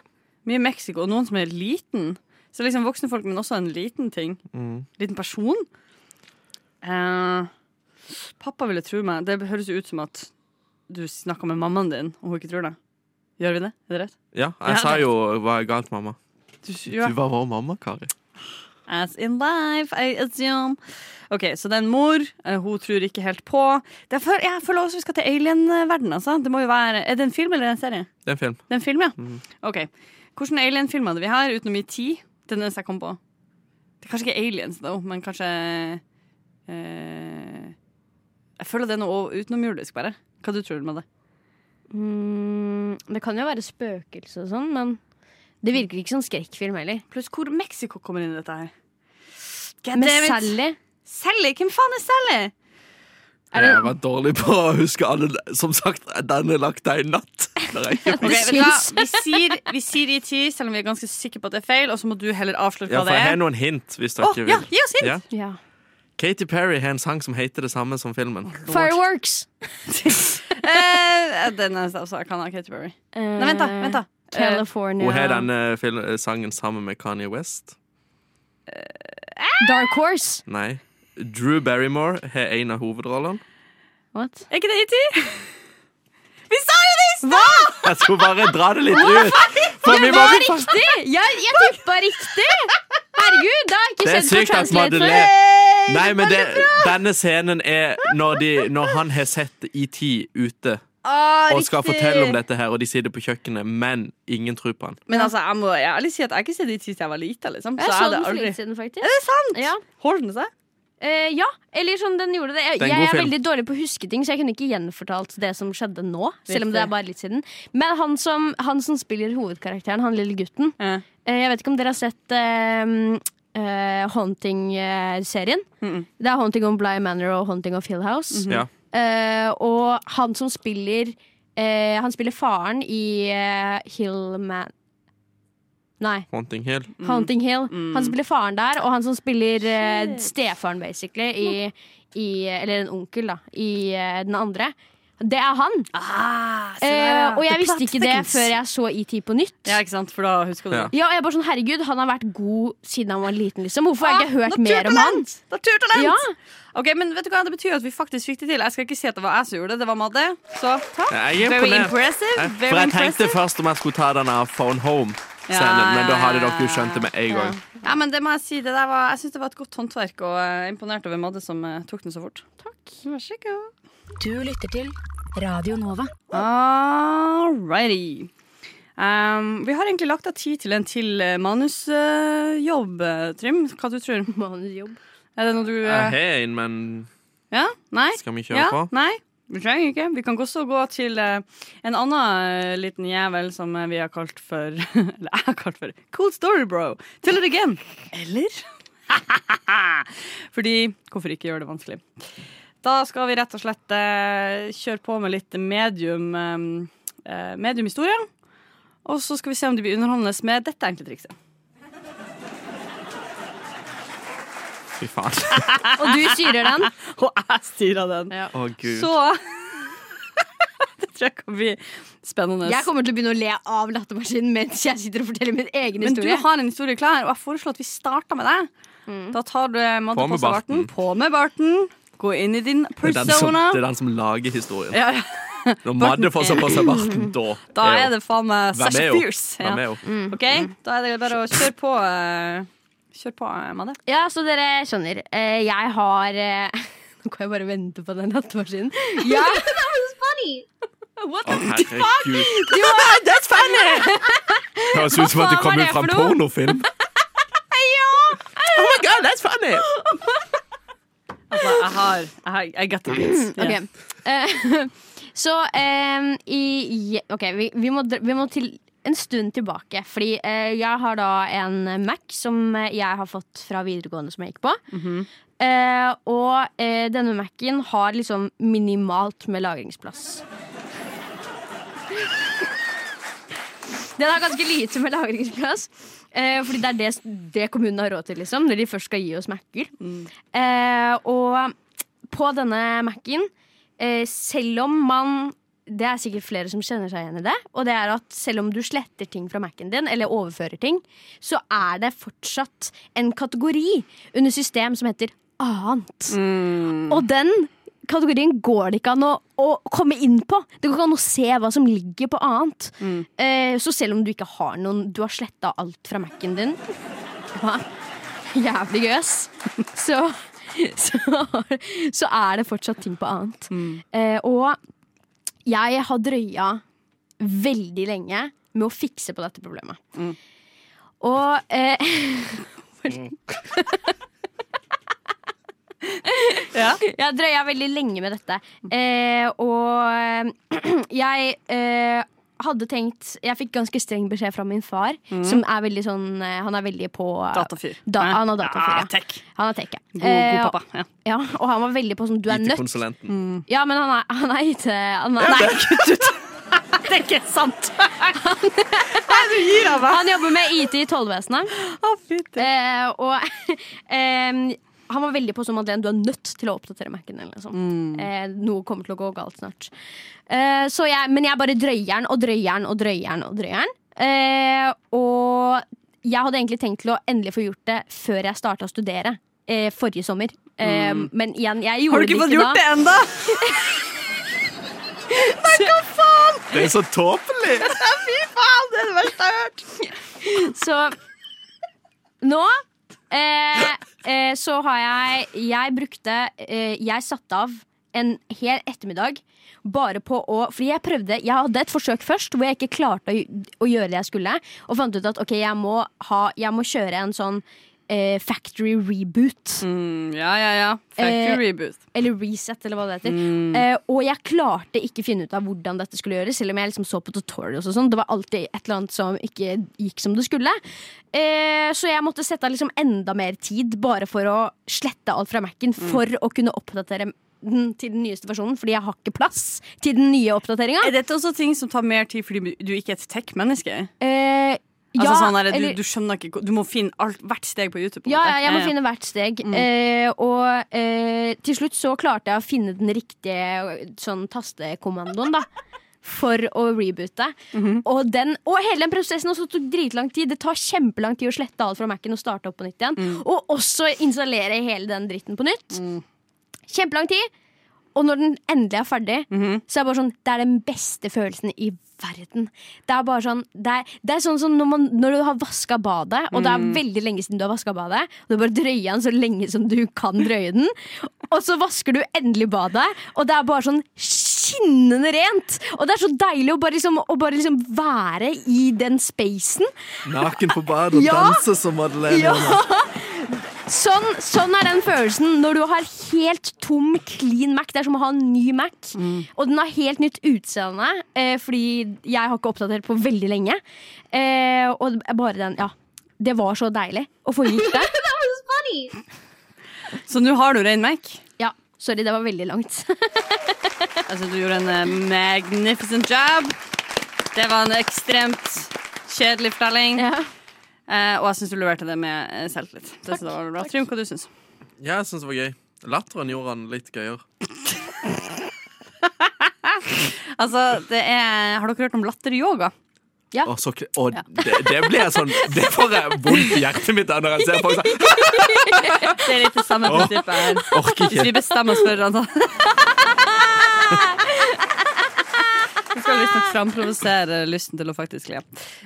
Mye Mexico, og noen som er liten. Så liksom voksne folk, men også en liten ting. Mm. Liten person. Eh, pappa ville tro meg. Det høres jo ut som at du snakka med mammaen din, og hun ikke tror det. Gjør vi det? Er det rett? Ja, Ja, jeg sa det- jo 'hva er galt, mamma'? Du, Du var vår mamma, Kari. As in life, I assume. OK, så det er en mor. eh, Hun tror ikke helt på. Det er for, jeg føler også vi skal til alien-verden, altså. Det må jo være Er det en film eller en serie? Det er en film. Det er en film, ja. OK. Hvilke alien-film hadde vi her, utenom E.T.? Den eneste jeg kom på. Det er kanskje ikke aliens, though, men kanskje eh, Jeg føler det er noe utenomjordisk, bare. Hva du tror du med det? Mm, det kan jo være spøkelse og sånn, men det virker ikke som skrekkfilm heller. Pluss hvor Mexico kommer inn i dette her. God Men damn it. Sally Sally? Hvem faen er Sally? Er det- Jeg var dårlig på å huske alle Som sagt, den er lagt deg i natt. Det er ikke- Ok, Det vet du hva? syns. Vi sier, vi sier IT, selv om vi er ganske sikre på at det er feil, og så må du heller avsløre Ja, hva for jeg det har er. noen hint, hvis dere Å, ja, vil. gi oss hint! Ja. ja. Katy Perry har en sang som heter det samme som filmen. Fireworks. Eh, den er altså, jeg kan ha Katy Perry. Nei, vent da, vent da. Eh, California. Hun har denne fil- sangen sammen med Kanye West. Dark Horse. Nei. Drew Barrymore har en av hovedrollene. What? er ikke det IT? Vi sa jo det i stad! Jeg skulle bare dra det litt ut. For vi må bli fast. Riktig! Jeg, jeg tippa riktig! Herregud, da har jeg ikke Det sett er på sykt at Translate før. Madeleine Nei, men det, denne scenen er når, de, når han har sett ET ute og skal fortelle om dette her, og de sitter på kjøkkenet, men ingen tror på han. Men altså, jeg må jeg ærlig si at jeg har ikke sett IT siden jeg var lita. Liksom. Jeg jeg så hadde den for aldri- litt siden, faktisk. Er det sant? Ja. Holder den seg? Eh, ja, eller sånn den gjorde det. Jeg, Det er en jeg god er film. veldig dårlig på å huske ting, så jeg kunne ikke gjenfortalt det som skjedde nå. Selv om det er Riktig. bare litt siden Men han som, han som spiller hovedkarakteren, han lille gutten Ja. eh, Jeg vet ikke om dere har sett eh, eh, Haunting-serien. Mm-mm. Mm-hmm. Det er Haunting on Bligh Manor og Haunting of Hill House. Mhm. Ja. Eh, og han som spiller eh, Han spiller faren i eh, Hillman Nei. Haunting Hill. Mm-hmm. Haunting Hill. Mm. Han spiller faren der, og han som spiller eh, stefaren, basically, i, i Eller en onkel, da, i eh, den andre. Det er han! Ah, se der, ja. Eh, og jeg The visste plot ikke det thickens. før jeg så ET på nytt. Ja, ikke sant? For da husker du Ja. det. Ja, og jeg er bare sånn, herregud, Han har vært god siden han var liten. liksom Hvorfor har jeg ikke Ah, hørt mer om han? naturtalent! Naturtalent! Ja, Ok, men vet du hva? Det betyr jo at vi faktisk fikk det til. Jeg skal ikke si at det var jeg som gjorde det. Det var Madde. Så takk. Jeg er Very imponert. impressive. Jeg- Eh, For Very jeg tenkte impressive. først om jeg skulle ta denne Phone Home-scenen, Ja, ja, men da hadde ja, dere jo skjønt det med en gang. Ja, men det må jeg si. Det der var, jeg syns det var et godt håndverk, og jeg er imponert over Madde som eh, tok den så fort. Takk. Vær så god. Du lytter til Radio Nova. Alrighty. Um, vi har egentlig lagt av tid til en til eh, manusjobb, eh, Trym. Hva du tror Manusjobb. Er det noe du Jeg eh, har en, men Ja? Nei? skal vi kjøre Ja? på? Nei? Vi trenger ikke. Vi kan også gå til eh, en annen eh, liten jævel som eh, vi har kalt for Eller jeg har kalt for Cool story, bro. Tell it again. Eller? Fordi hvorfor ikke gjøre det vanskelig? Da skal vi rett og slett eh, kjøre på med litt medium eh, eh, mediumhistorie. Og så skal vi se om de blir underholdende med dette enkle trikset. Fy faen. Og du syrer den. Og jeg styrer den. Å, gud. Så Det tror jeg kan bli spennende. Jeg kommer til å begynne å le av lattermaskinen mens jeg sitter og forteller min egen Men historie. Mm. du har en historie klar, og jeg foreslår at vi starter med deg. Da tar du På med barten. maddepassebarten. På med barten. Gå inn i din Det er, den som, persona. det er den som lager historien. Ja, ja. Når Madde får seg på seg barten, da Da er det faen meg Hvem Sasha er hun? Fierce. Hvem er Ja. Mm. hun? Mm. Ok, Da er det bare å kjøre på. eh, Kjør på, eh, Madde. Ja, så dere skjønner. Eh, jeg har eh, Nå kan jeg bare vente på den lattermaskinen. Jeg, Oh, Å, herregud. That's funny! Høres ut som at det kom ut fra en pornofilm. Oh my god, that's funny! Altså, jeg har jeg har- I got the beats. Mm, Ok. Yeah. Eh, så eh, i, Ok, vi, vi, må, dra- vi må til en stund tilbake. Fordi eh, jeg har da en Mac som eh, jeg har fått fra videregående som jeg gikk på. Eh, og eh, denne Mac-en har liksom minimalt med lagringsplass. Den har ganske lite med lagringsplass. Eh, fordi det er det, det kommunen har råd til, liksom, når de først skal gi oss Mac-er. Eh, og på denne Mac-en, eh, selv om man Det er sikkert flere som kjenner seg igjen i det. Og det er at selv om du sletter ting fra Mac-en din, eller overfører ting, så er det fortsatt en kategori under system som heter annet. Og den kategorien går det ikke an å, å komme inn på. Det går ikke an å se hva som ligger på annet. Eh, så selv om du ikke har noen Du har sletta alt fra Mac-en din. Ja, jævlig gøs. Så, så, så er det fortsatt ting på annet. Mm. Eh, og jeg har drøya veldig lenge med å fikse på dette problemet. Mm. Og eh, Ja. Jeg drøya veldig lenge med dette. Eh, og jeg eh, hadde tenkt Jeg fikk ganske streng beskjed fra min far, som er veldig sånn eh, Han er veldig på eh, Mm. Datafyr. Da, Ja. han er datafyr, Ja, ja. tech. Han er tech, ja. God, god pappa. Ja. Eh, ja. Og han var veldig på sånn Du er nødt IT-konsulenten. Mm. Ja, men han er, han er IT... Han er, nei, Kutt ut! Det er ikke sant! du gir av han jobber med IT i tollvesenet. meg! Eh, og em, han var veldig på som Madeleine, du er nødt til å oppdatere Mac-en. din, Liksom. Mm. Eh, noe kommer til å gå galt snart. Eh, så jeg, men jeg bare drøyer den og drøyer den og drøyer den. Og, drøyer den. Eh, og jeg hadde egentlig tenkt til å endelig få gjort det før jeg starta å studere eh, forrige sommer. Eh, Men igjen, jeg Mm. gjorde Har du ikke det fått ikke gjort det da. ennå? Det er så tåpelig! Fy faen, det er det verste jeg har hørt! Så nå eh, eh, så har jeg Jeg brukte eh, Jeg satte av en hel ettermiddag bare på å Fordi jeg prøvde Jeg hadde et forsøk først hvor jeg ikke klarte å, gj- å gjøre det jeg skulle, og fant ut at ok, jeg må, ha, jeg må kjøre en sånn eh, factory reboot. ja, ja, ja. Eh, Factory reboot. Eller reset, eller hva det heter. Mm. Eh, og jeg klarte ikke finne ut av hvordan dette skulle gjøres, selv om jeg liksom så på tutorials og sånn. Det var alltid et eller annet som ikke gikk som det skulle. Eh, så jeg måtte sette av liksom enda mer tid bare for å slette alt fra Mac-en Mm. for å kunne oppdatere den til den nyeste versjonen, fordi jeg har ikke plass til den nye oppdateringa. Er dette også ting som tar mer tid fordi du ikke er et tech-menneske? Eh, Altså ja, sånn der, du, eller- du skjønner ikke Du må finne alt, hvert steg på YouTube. på en Ja, måte. ja, jeg må finne hvert steg. Eh, og eh, til slutt så klarte jeg å finne den riktige sånn tastekommandoen, da. For å reboote. og, den, og hele den prosessen også tok dritlang tid. Det tar kjempelang tid å slette alt fra Mac-en og starte opp på nytt igjen. Og også installere hele den dritten på nytt. Kjempelang tid. Og når den endelig er ferdig, så er det bare sånn Det er den beste følelsen i verden. Det er bare sånn Det er, det er sånn som når, man, når du har vaska badet, og det er veldig lenge siden du har vaska badet, og du bare drøyer den så lenge som du kan drøye den, og så vasker du endelig badet, og det er bare sånn skinnende rent! Og det er så deilig å bare liksom, å bare liksom være i den spacen. Naken på badet og Ja. danse som Madeleine. Ja. Sånn, sånn er den følelsen når du har helt tom, clean Mac. Det er som å ha en ny Mac. Og den har helt nytt utseende, eh, fordi jeg har ikke oppdatert på veldig lenge. Eh, og det er bare den, ja. Det var så deilig å få gjort det. Så nå har du ren Mac. Ja, Sorry, det var veldig langt. Altså, du gjorde en eh, magnificent job. Det var en ekstremt kjedelig fortelling. ja. Eh, og jeg syns du leverte det med eh, selvtillit. Det synes jeg var bra. Trym, hva du syns Ja, jeg syns det var gøy. Latteren gjorde han litt gøyere. Altså, det er Har dere hørt om latteryoga? Ja. Å, så, kl- å, det, det blir jeg sånn Det får jeg vondt i hjertet mitt av når jeg ser folk sånn. Det er litt det samme prinsippet her. Orker Hvis ikke. vi bestemmer oss for det, altså. Vi skal visstnok framprovosere lysten til å faktisk le.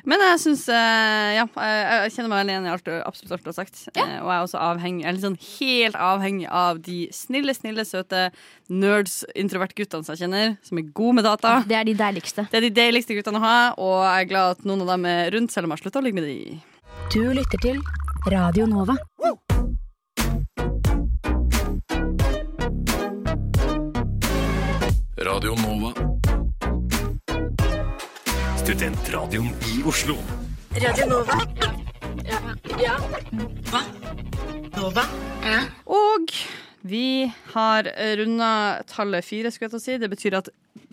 Men jeg syns Ja, jeg, jeg kjenner meg veldig igjen i alt, du- absolutt alt du har sagt. Eh, Og jeg er også avhengig, jeg er litt sånn helt avhengig av de snille, snille, søte nerds, introvertguttene som jeg kjenner, som er gode med data. Det er de deiligste. Det er de deiligste guttene å ha, og jeg er glad at noen av dem er rundt, selv om jeg har slutta å ligge med de. Du lytter til Radio Nova. Radio Nova. Studentradioen i Oslo. Og vi har runda tallet fire, skulle jeg til å si. Det betyr at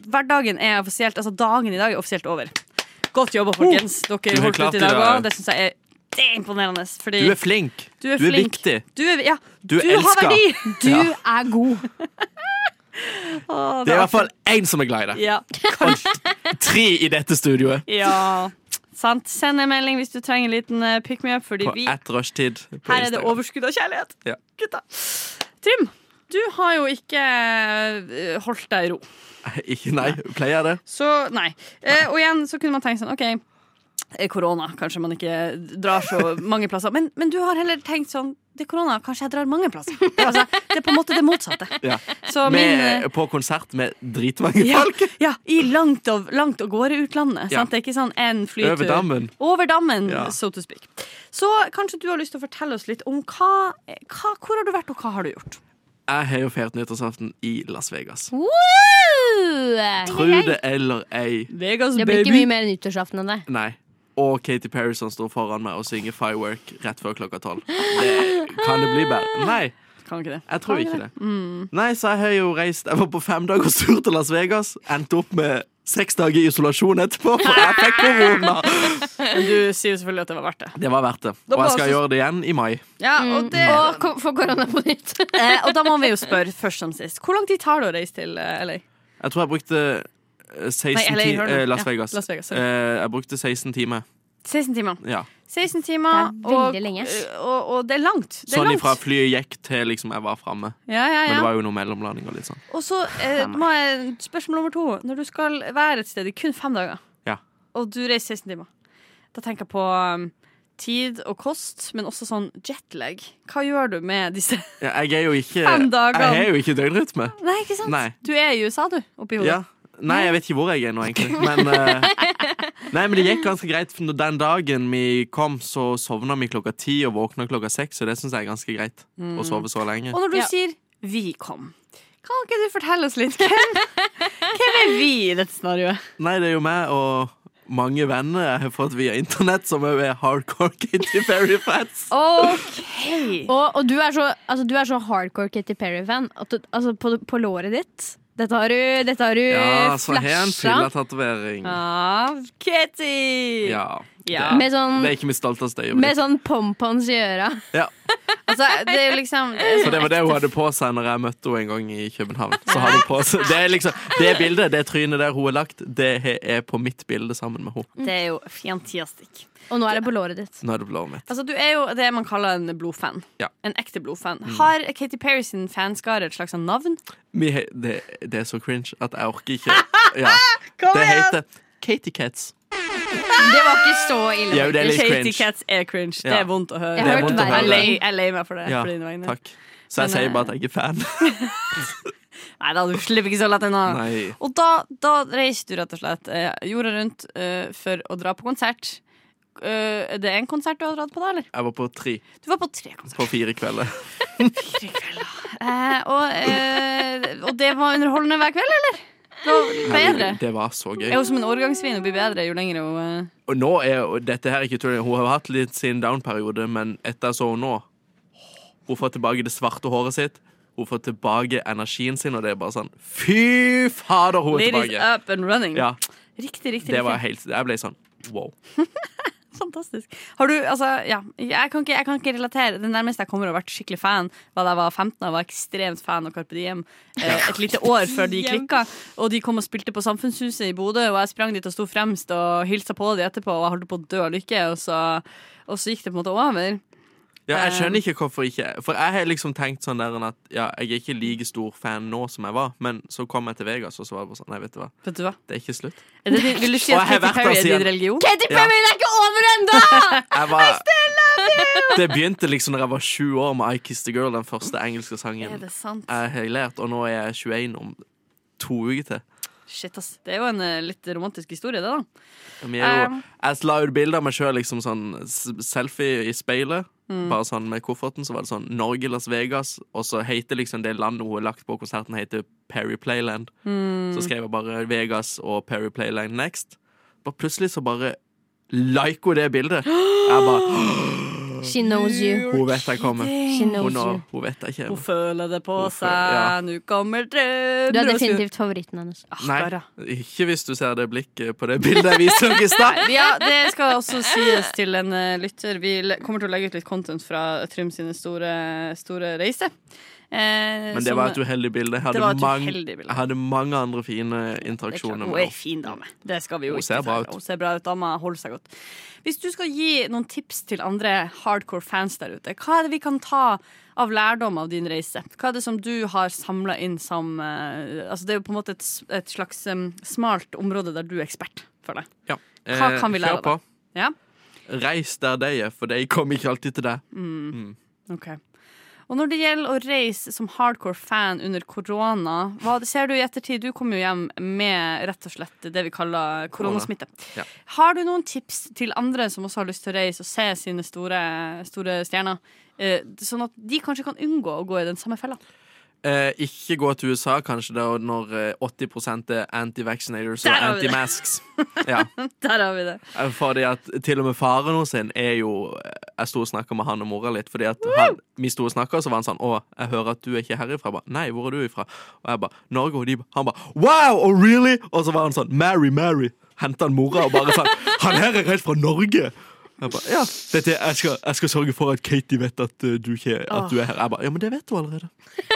hverdagen er offisielt, altså dagen i dag er offisielt over. Godt jobba, folkens. Du Dere har holdt klart ut i det dag der. òg. Det syns jeg er det er imponerende. Fordi Du er flink. du er flink. viktig. Du er, ja, Du er har elska. verdi. Du er god. Å, Det er i hvert artig. fall én som er glad i det. ja. Tre i dette studioet. ja. Sant. Send en melding hvis du trenger en liten eh, pick me up, fordi På vi ett rushtid. på Her er det Instagram. overskudd av kjærlighet. Ja. Gutta. Trym, du har jo ikke eh, holdt deg i ro. Ikke nei. Pleier jeg det? Så nei. Eh, og igjen så kunne man tenkt sånn OK, eh, korona. Kanskje man ikke drar så mange plasser. Men, men du har heller tenkt sånn Det er korona, kanskje jeg drar mange plasser. Altså, det er på en måte det motsatte. Ja. Så min eh, Med, på konsert med dritmange ja, folk. ja, i langt av, langt av gårde utlandet. Ja. Sant? Det er ikke sånn en flytur. Over dammen. Over dammen, Ja. so to speak. Så kanskje du har lyst til å fortelle oss litt om hva, hva Hvor har du vært, og hva har du gjort? Jeg har jo feiret nyttårsaften i Las Vegas. Woo! Tro det eller ei. Vegas, Det blir ikke mye mer nyttårsaften enn det. Nei. Og Katy Perry som står foran meg og synger Firework rett før klokka tolv. Det- Kan det bli bedre? Nei, Kan ikke det. Mm. jeg tror ikke det. Nei, så jeg har jo reist Jeg var på femdagerstur til Las Vegas. Endte opp med seks dager i isolasjon etterpå, for jeg fikk korona. Men du sier jo selvfølgelig at det var verdt det. Det var verdt det. Da Og jeg skal bare- gjøre det igjen i mai. Ja, og det Mm. Og ko- få korona på nytt. Eh, og da må vi jo spørre først som sist. Hvor lang tid tar det å reise til eh, LA? Jeg tror jeg brukte eh, 16 Nei, LA, ti- hør nå. eh, Ja, Las Vegas. Las Vegas, sorry. Eh, jeg brukte 16 timer. 16 timer. Ja. 16 timer Det er veldig og, lenge. Og, og det er langt. Det er Sånn langt. ifra flyet gikk til liksom jeg var framme. Ja, ja, Men det ja. var jo noe mellomlanding og litt sånn. Og så eh, må jeg, spørsmål nummer to. Når du skal være et sted i kun fem dager, Ja. og du reiser 16 timer, da tenker jeg på um, tid og kost, men også sånn jetlag. Hva gjør du med disse Ja, Jeg er jo ikke Fem dager. Jeg har jo ikke døgnrytme. Nei, ikke sant? Nei. Du er i USA, du. Oppi hodet. Ja. Nei, jeg vet ikke hvor jeg er nå, egentlig. Men, eh, nei, men det gikk ganske greit. for Den dagen vi kom, så sovna vi klokka ti og våkna klokka seks, og det syns jeg er ganske greit. Å sove så lenge. Og når du Ja. sier 'vi kom', kan ikke du fortelle oss litt? Hvem, hvem er vi i dette scenarioet? Nei, det er jo meg og mange venner jeg har fått via internett, som òg er hardcore Katy Perry-fans. OK. Og, og du, er så, altså, du er så hardcore Katy Perry-fan at du, altså, på, på låret ditt Dette har du, dette har du Ja, så har jeg en flasha fylletatovering. Av Ah, Kitty. Ja. Ja. Det, med sånn, det er ikke mitt stolteste med øyeblikk. sånn pompons i øra. Ja. Altså, det er jo liksom det er For det var det hun hadde på seg når jeg møtte henne en gang i København. Så hadde hun på seg Det, er liksom, det bildet, det trynet der hun har lagt, det he- er på mitt bilde sammen med henne. sånn- Det er jo fantastisk. Og nå er det på låret ditt. Nå er det blodet mitt. Altså, du er jo det man kaller en blodfan. Ja. En ekte blodfan. Har Katy Perry sin fanskare et slags sånn navn? Vi he- det, det er så cringe at jeg orker ikke. Ja. Det heter Katy Cats. Det var ikke så ille. Ja, det er litt Katy cringe. Cats er cringe. Det Ja. er vondt å høre. Jeg har Det er hørt vondt å verre. Jeg er høre. lei, jeg er lei meg for det. Ja, på dine vegne. takk. Så jeg Men, eh, sier bare at jeg ikke er fan. Nei da, du slipper ikke så lett unna. Nei. Og da, da reiste du rett og slett eh, jorda rundt eh, for å dra på konsert. øh, er det én konsert du har dratt på, da? eller? Jeg var på tre Du var på tre konserter. på fire kvelder. Eh, og, eh, og det var underholdende hver kveld, eller? Det var bedre. Det var så gøy. Jeg er jo som en årgangsvin og blir bedre jo lenger hun eh, Og nå er og dette her er ikke tull. Hun har hatt litt sin down-periode, men etter jeg så henne nå Hun får tilbake det svarte håret sitt, hun får tilbake energien sin, og det er bare sånn Fy fader, hun er Ladies tilbake! up and running. Ja, Riktig, riktig. det var riktig. helt Jeg ble sånn wow. Fantastisk. Har du, altså, ja, jeg kan, ikke, jeg kan ikke relatere. Det nærmeste jeg kommer å ha vært skikkelig fan, var da jeg var 15. Jeg var ekstremt fan av Carpe Diem eh, et lite år før de klikka. Og de kom og spilte på Samfunnshuset i Bodø, og jeg sprang dit og sto fremst og hilsa på dem etterpå, og jeg holdt på å dø av lykke, og så, og så gikk det på en måte over. Ja, jeg skjønner ikke hvorfor ikke. jeg- For jeg har liksom tenkt sånn der enn at ja, jeg er ikke like stor fan nå som jeg var, men så kom jeg til Vegas, og så var jeg bare sånn Nei, vet du hva, Vet du hva? det er ikke slutt. Er det, din- vil du si Og at jeg Katy har vært der Perry er siden. din religion? Katy Perry, det er ikke over ennå! Jeg var, det begynte liksom da jeg var sju år med I Kiss The Girl, den første engelske sangen. Er det sant? jeg har lært, og nå er jeg 21 om to uker til. Shit, ass. Det er jo en eh, litt romantisk historie, det, da. Vi er jo, Um. jeg la ut bilder av meg sjøl, liksom sånn s- selfie i speilet. Mm. Bare sånn med kofferten, så var det sånn Norge, Las Vegas, og så heter liksom det landet hun har lagt på konserten, heter Perry Playland. Mm. Så skrev jeg bare Vegas og Perry Playland next. Bare plutselig så bare liker hun det bildet. Jeg bare She knows you. Hun vet jeg kommer. She knows Hun, you. hun vet jeg Hun kommer. føler det på Hun seg, føler- ja. nå kommer Ah, Du er drømmer og sur- definitivt favoritten hennes. Nei, Bare. ikke hvis du ser det blikket på det bildet jeg viste dere i stad. Ja, det skal også sies til en eh, lytter. Vi le- kommer til å legge ut litt content fra Trym sine store, store reiser. Eh, Men det som- var et uheldig bilde. Jeg Det var hadde, et mange, uheldig bilde. jeg hadde mange andre fine Det er klart, interaksjoner Hun med er en henne. fin dame. Det skal vi jo Hun ikke ser bra ta. ut. Hun ser bra ut. Dama holder seg godt. Hvis du skal gi noen tips til andre hardcore fans der ute, hva er det vi kan ta av lærdom av din reise? Hva er det som du har samla inn som eh, altså Det er jo på en måte et, s- et slags eh, smalt område der du er ekspert, føler jeg. Ja. Hva Eh, kan vi lære kjør på. Ja? Reis der de er, for de kommer ikke alltid til deg. Ok. Og når det gjelder å reise som hardcore fan under korona, hva ser du i ettertid? Du kom jo hjem med rett og slett det vi kaller koronasmitte. Ja. Har du noen tips til andre som også har lyst til å reise og se sine store, store stjerner, eh, sånn at de kanskje kan unngå å gå i den samme fella? Eh, ikke gå til USA, kanskje, da, når eh, 80 er anti-vaccinators Der og har vi det. anti-masks. Ja. Der har vi det. Eh, Fordi at til og med faren hennes sin er jo eh, Jeg sto og snakka med han og mora litt, fordi at han, vi sto og snakka, og så var han sånn Å, jeg hører at du er ikke herifra. Jeg ba, Nei, hvor er du ifra? Og jeg bare Norge. Og de, ba- han bare Wow! Oh, really? Og så var han sånn Mary, Mary. Henta han mora og bare sånn Han her er helt fra Norge! Jeg ba, ja, dette, jeg, skal, jeg skal sørge for at Katie vet at eh, du, ikke, at du er her. Jeg bare, ja, men det vet hun allerede.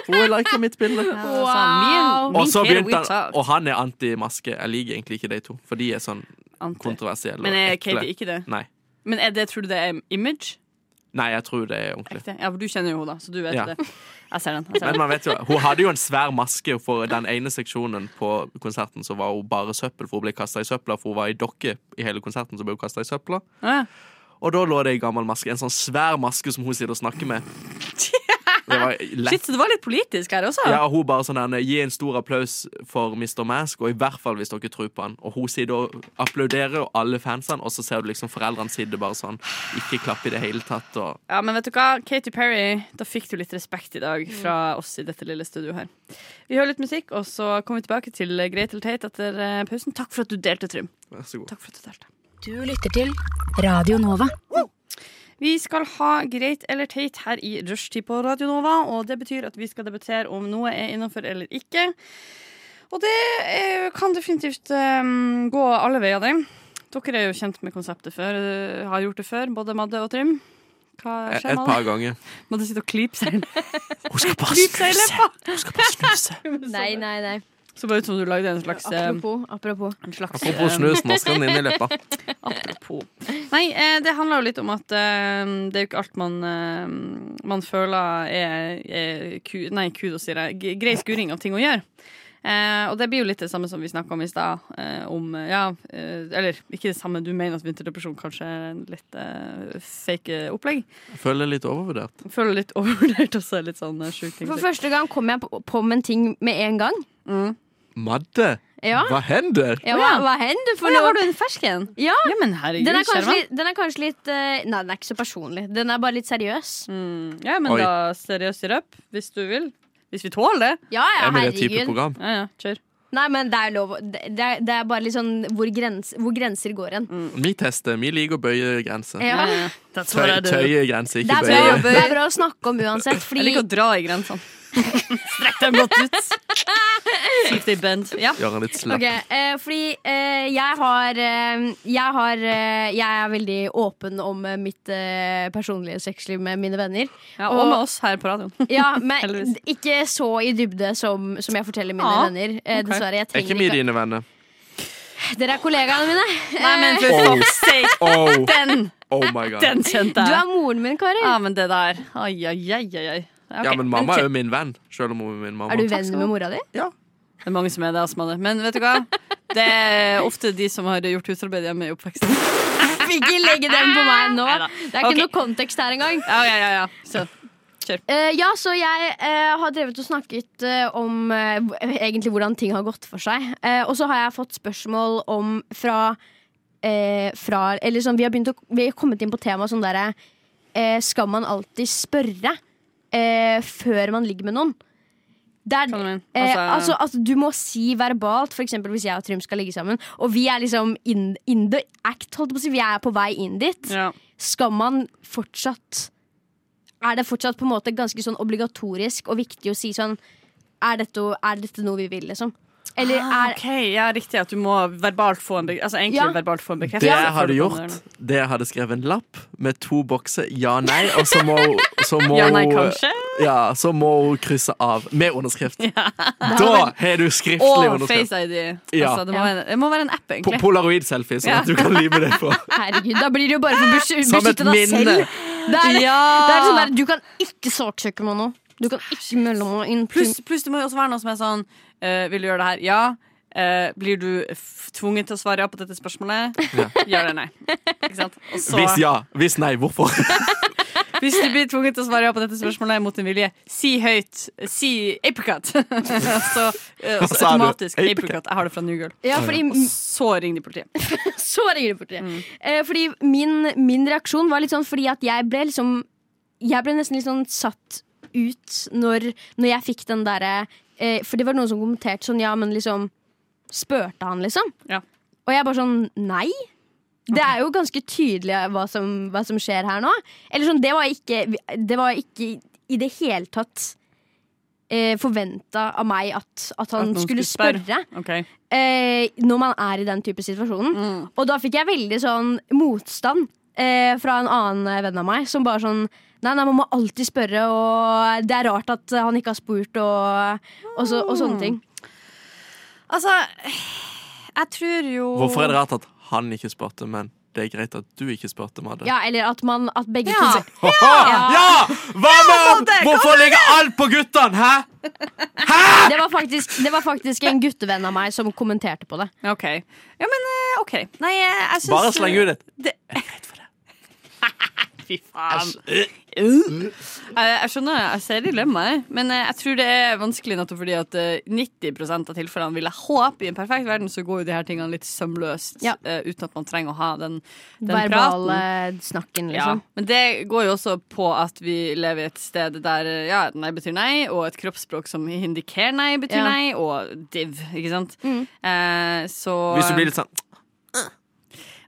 For hun liker mitt bilde. Så me and- me Og så and Kate, begynte we han talk. Og han er anti-maske. Jeg liker egentlig ikke de to, for de er sånn Ante. kontroversielle. Men og er ekle. Katie ikke det? Nei. Men er det, tror du det er image? Nei, jeg tror det er ordentlig. Ekte? Ja, for du kjenner jo henne, da, så du vet Ja. det. Jeg ser den. Jeg ser Men den. man vet jo, Hun hadde jo en svær maske for den ene seksjonen på konserten. Så var hun bare søppel, for hun ble kasta i søpla, for hun var i dokke i hele konserten. Så ble hun kastet i søpla Ja. Og da lå det ei gammel maske. En sånn svær maske som hun sitter og snakker med. Det var Shit, lett. så det var litt politisk her også. Ja, og hun bare sånn der, Gi en stor applaus for Mr. Mask, og i hvert fall hvis dere tror på han. Og hun sitter og applauderer, og alle fansene, og så ser du liksom foreldrene sitte bare sånn. Ikke klapp i det hele tatt. Og Ja, men vet du hva? Katy Perry, da fikk du litt respekt i dag fra oss i dette lille studioet her. Vi hører litt musikk, og så kommer vi tilbake til Greit eller teit etter eh, pausen. Takk for at du delte, Trym. vær så god. Takk for at du delte. Du lytter til Radio Nova. Vi skal ha Greit eller teit her i rushtid på Radio Nova, og det betyr at vi skal debattere om noe er innenfor eller ikke. Og det eh, kan definitivt eh, gå alle veier, det. Dere er jo kjent med konseptet før, eh, har gjort det før, både Madde og Trym. Hva Eh, Et skjer et med det? par ganger. Madde sitter og klyper seg Hun skal bare Klyp seg i snuse. leppa! Hun skal bare snuse. Nei, nei, nei. Så bare ut som du lagde en slags eh, Apropos. apropos. En slags eh, Apropos snus, nå skal den inn i leppa. Apropos. Nei, eh, det handler jo litt om at eh, det er jo ikke alt man, eh, man føler er, er ku, Nei, kudos, sier jeg. G- Grei skuring av ting å gjøre. Eh, og det blir jo litt det samme som vi snakka om i stad. Eh, om eh, Ja, eh, eller ikke det samme, du mener at vinterdepresjon kanskje er en litt eh, fake eh, opplegg. Jeg føler det er litt overvurdert. Jeg Føler litt overvurdert også, litt sånn eh, sjuk ting. For første gang kom jeg på, på med en ting med en gang. Madde, Ja. hva hender? Ja, hva, hva hender for Har du noe? en fersken? Ja, Ja, men herregud, den er kanskje, Skjervan. litt- den er kanskje litt eh, Nei, den er ikke så personlig. Den er bare litt seriøs. Mm, ja, men Oi. da seriøst sirup, hvis du vil. Hvis vi tåler det. Ja, ja, Er det det type herregud. program? Ja, ja, kjør. Nei, men det er lov. å- Det det er, det er bare litt sånn hvor, grens, hvor grenser går hen. Vi tester. Vi liker å bøye grenser. Ja. Ja, ja. That's Tøy, what I do. tøye grenser, Det ikke er, bra, bøye. det er bra å snakke om uansett, Jeg fordi liker å dra i grensene. Strekk dem godt ut. Safety bend. Ja. Gjøre den litt slapp. Ok, eh, fordi eh, jeg har, eh, jeg, har eh, jeg er veldig åpen om eh, mitt eh, personlige sexliv med mine venner. Ja, og med oss her på radioen. Ja, Men Heldigvis. ikke så i dybde som, som jeg forteller mine Ja, venner. Eh, ok. Dessverre. Jeg Er ikke trenger vi ikke dine venner? Dere er kollegaene mine. Nei, men for Oh. fuck's sake, Oh, den, oh my god. den kjente Du er jeg. moren min, Kari. Ja, men det der. Ai, ai, ai, ai. ai. Ok, Ja, men mamma ok. er jo min venn, selv om hun er min mamma. Er du skal venn du med mora di? Det er mange som er det, astma det. Men vet du hva? Det er ofte de som har gjort husarbeid hjemme i oppveksten. Ikke legge den på meg nå. Neida. Det er ikke Ok. noe kontekst her engang. Ja, ja, ja, ja. Så. Eh, ja, så jeg eh, har drevet og snakket eh, om eh, hv- egentlig hvordan ting har gått for seg. Eh, og så har jeg fått spørsmål om fra, eh, fra Eller sånn, vi har, begynt å, vi har kommet inn på temaet sånn derre eh, Skal man alltid spørre eh, før man ligger med noen? Det er, Hva du mener? Eh, Altså- altså, altså, du må si verbalt, f.eks. hvis jeg og Trym skal ligge sammen, og vi er liksom in, in the act, holdt jeg på å si, vi er på vei inn dit Ja. skal man fortsatt Er det fortsatt på en måte ganske sånn obligatorisk og viktig å si sånn Er dette, er dette noe vi vil, liksom? Eller Ah, er ok, ja, riktig at du må verbalt få en, be- altså, egentlig Ja. verbalt få en Det bekreftelse. jeg før du hadde kommer gjort, det jeg hadde skrevet en lapp med to bokser ja-nei, og så må, så må Ja, nei, kanskje? Ja, så må hun krysse av med underskrift. Da har du skriftlig Og underskrift. Face ID. Ja. Altså, det, må være, det må være en app, På egentlig. Polaroid-selfie, sånn Ja. at du kan lime det på. Herregud, da blir det jo bare for besky- Som et beskyttet av minne. selv. Det er, Ja. det er sånn der, du kan ikke saksøke meg nå. Du kan ikke melde meg inn. Pluss pluss det må jo også være noe som er sånn eh, Vil du gjøre det her? Ja. Eh, blir du f- tvunget til å svare ja på dette spørsmålet? Ja, eller nei. Ikke sant? Og så, Hvis ja, hvis nei, hvorfor? hvis du blir tvunget til å svare ja på dette spørsmålet mot din vilje, si høyt Si apricot! så, eh, Hva så sa du? automatisk apricot. Apricot? Jeg har det fra New Girl. Ja, fordi Så ring de politiet. Så ringer det politiet. Mm. Eh, fordi min, min reaksjon var litt sånn fordi at jeg ble liksom Jeg ble nesten litt sånn satt ut når, når jeg fikk den derre eh, For det var noen som kommenterte sånn, ja, men liksom Spurte han, liksom? Ja. Og jeg bare sånn Nei. Det er jo ganske tydelig hva som, hva som skjer her nå. Eller sånn, det var ikke Det var ikke i det hele tatt eh, forventa av meg at, at At han noen skulle, skulle spørre. spørre Ok. eh, når man er i den type situasjonen. Mm. Og da fikk jeg veldig sånn motstand eh, fra en annen eh, venn av meg, som bare sånn Nei, nei, man må alltid spørre, og det er rart at eh, han ikke har spurt, og, og, så, og sånne ting. Mm. Altså, jeg tror jo Hvorfor er det rart at han ikke spurte, men det er greit at du ikke spurte, Madde? Ja, eller at man at begge Ja. to Haha! ja! Hva med Hvorfor ligger alt på guttene, hæ? det var, faktisk, det var faktisk en guttevenn av meg som kommenterte på det. Ok. Ja, men eh, OK. Nei, jeg, jeg syns Bare sleng ut et Fy faen. Uh. Jeg, jeg skjønner, jeg ser dilemmaet, men eh, jeg tror det er vanskelig nettopp fordi at eh, 90 av tilfellene vil jeg håpe i en perfekt verden, så går jo de her tingene litt sømløst Ja. eh, uten at man trenger å ha den, den Verbale praten. eh, snakken, Ja, liksom. men det går jo også på at vi lever i et sted der eh, ja, et nei betyr nei, og et kroppsspråk som indikerer nei, betyr Ja. nei, og div, ikke sant? Eh, så Hvis du blir litt sånn,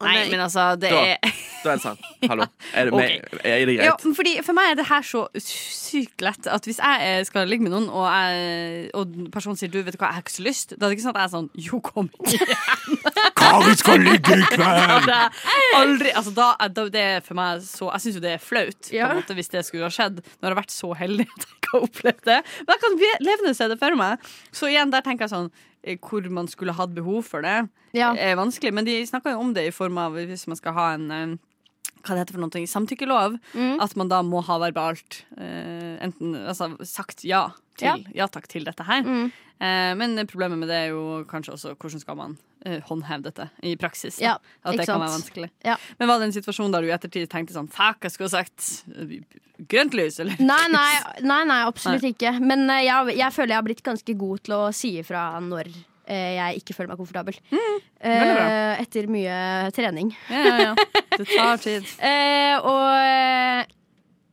Nei, men altså, det Da. er da er det sånn. Hallo. Er det, meg? er det Ja, greit? men fordi For meg er det her så sykt lett at hvis jeg eh, skal ligge med noen, og, jeg, og personen sier du, vet du hva, jeg har ikke så lyst, da er det ikke sånn at jeg er sånn jo, kom igjen. Kari skal ligge i kveld! Det er Aldri, altså da, da, det er for meg så, Jeg syns jo det er flaut på Ja. en måte, hvis det skulle ha skjedd. Når jeg har vært så heldig at jeg ikke har opplevd det. Men jeg kan ve- levende se det for meg. Så igjen, der tenker jeg sånn eh, Hvor man skulle hatt behov for det, Ja. er vanskelig. Men de snakker jo om det i form av hvis man skal ha en eh, hva det heter for noe, samtykkelov, Mm. at man da må ha verbalt eh, enten altså, sagt ja til ja. takk til dette her. Mm. Eh, men problemet med det er jo kanskje også hvordan skal man eh, håndheve dette i praksis. da? Ja, at det ikke kan være sant. vanskelig. Ja. Men var det en situasjon der du i ettertid tenkte sånn Fuck, jeg skulle ha sagt eh, grønt lys, eller? Nei, nei, nei, nei absolutt ikke. Men eh, jeg, jeg føler jeg har blitt ganske god til å si ifra når eh, jeg ikke føler meg komfortabel. Mm. veldig bra. Eh, etter mye trening. Ja, ja, ja. Det tar tid. Eh, og eh,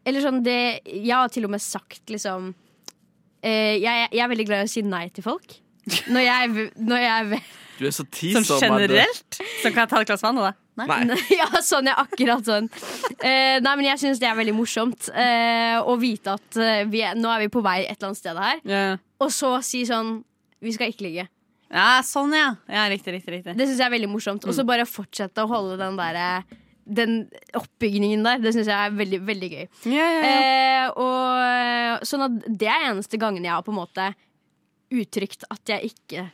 Eller sånn det Jeg har til og med sagt liksom eh, jeg, jeg er veldig glad i å si nei til folk. Når jeg, v- når jeg v- Du er så Sånn teaser. Madde. generelt? Så kan jeg ta et glass vann av deg? Nei. Ja, sånn, ja, akkurat sånn. Eh, nei, men jeg syns det er veldig morsomt eh, å vite at eh, vi er, nå er vi på vei et eller annet sted her, Ja, og så si sånn Vi skal ikke ligge. ja sånn, ja. Ja, Riktig, riktig. riktig Det syns jeg er veldig morsomt. Og så bare fortsette å holde den derre den oppbygningen der. Det syns jeg er veldig, veldig gøy. Ja, ja, ja. Eh, og, sånn at det er eneste gangen jeg har på en måte uttrykt at jeg ikke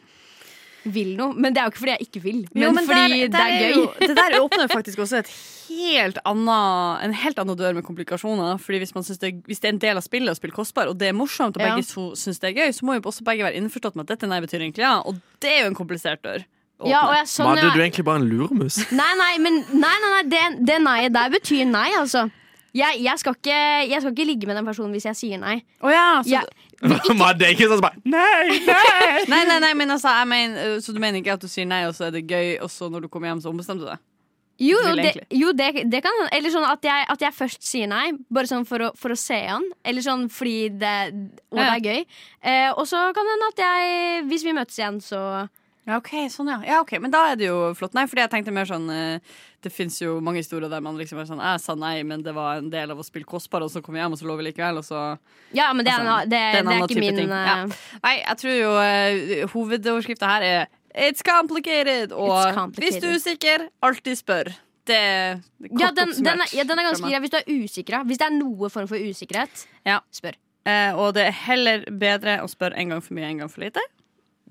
vil noe. Men det er jo ikke fordi jeg ikke vil, men, Jo, fordi der- det der er, gøy. jo- det der åpner faktisk også et helt annet, en helt annen dør med komplikasjoner. Fordi hvis, man synes det, hvis det er en del av spillet å spille kostbar, og det er morsomt, og Ja. begge to syns det er gøy, så må jo også begge være innforstått med at dette nei betyr egentlig ja. Og det er jo en komplisert dør. å Ja, åpne. og jeg, sånn, Madde, du ja. er egentlig bare en lurmus. Nei, nei, men nei, nei, nei, det, det nei-et der betyr nei, altså. Jeg, jeg, skal ikke, jeg skal ikke ligge med den personen hvis jeg sier nei. Å ja, så, Jeg, Madde er ikke sånn som bare Nei, nei! Nei, nei, nei, men altså, jeg mener, så du mener ikke at du sier nei, og så er det gøy, og så når du kommer hjem, så ombestemmer du deg? jo, jo, Vil det, egentlig. jo det, det kan hende. Eller sånn at jeg, at jeg først sier nei, bare sånn for å, for å se han. Eller sånn fordi det Og det Ja, er gøy. Eh, og så kan det hende at jeg, hvis vi møtes igjen, så Ja, ok, sånn ja. ja ok, Men da er det jo flott. Nei, fordi jeg tenkte mer sånn eh, Det fins jo mange historier der man liksom er sånn Jeg sa nei, men det var en del av å spille kostbar, og så kom jeg hjem, og så lå vi likevel, og så Ja, men det er, en Altså, a- det det, er en det er annen ikke type min ting. Ja. eh, Nei, jeg tror jo uh, hovedoverskrifta her er It's complicated! Og It's complicated. hvis du er usikker, alltid spør. Det er kort ja, den, oppsummert. den, er, ja, den er ganske fra meg. grei hvis du er usikker. Hvis det er noe form for usikkerhet, Ja. spør. Eh, og det er heller bedre å spørre en gang for mye enn en gang for lite.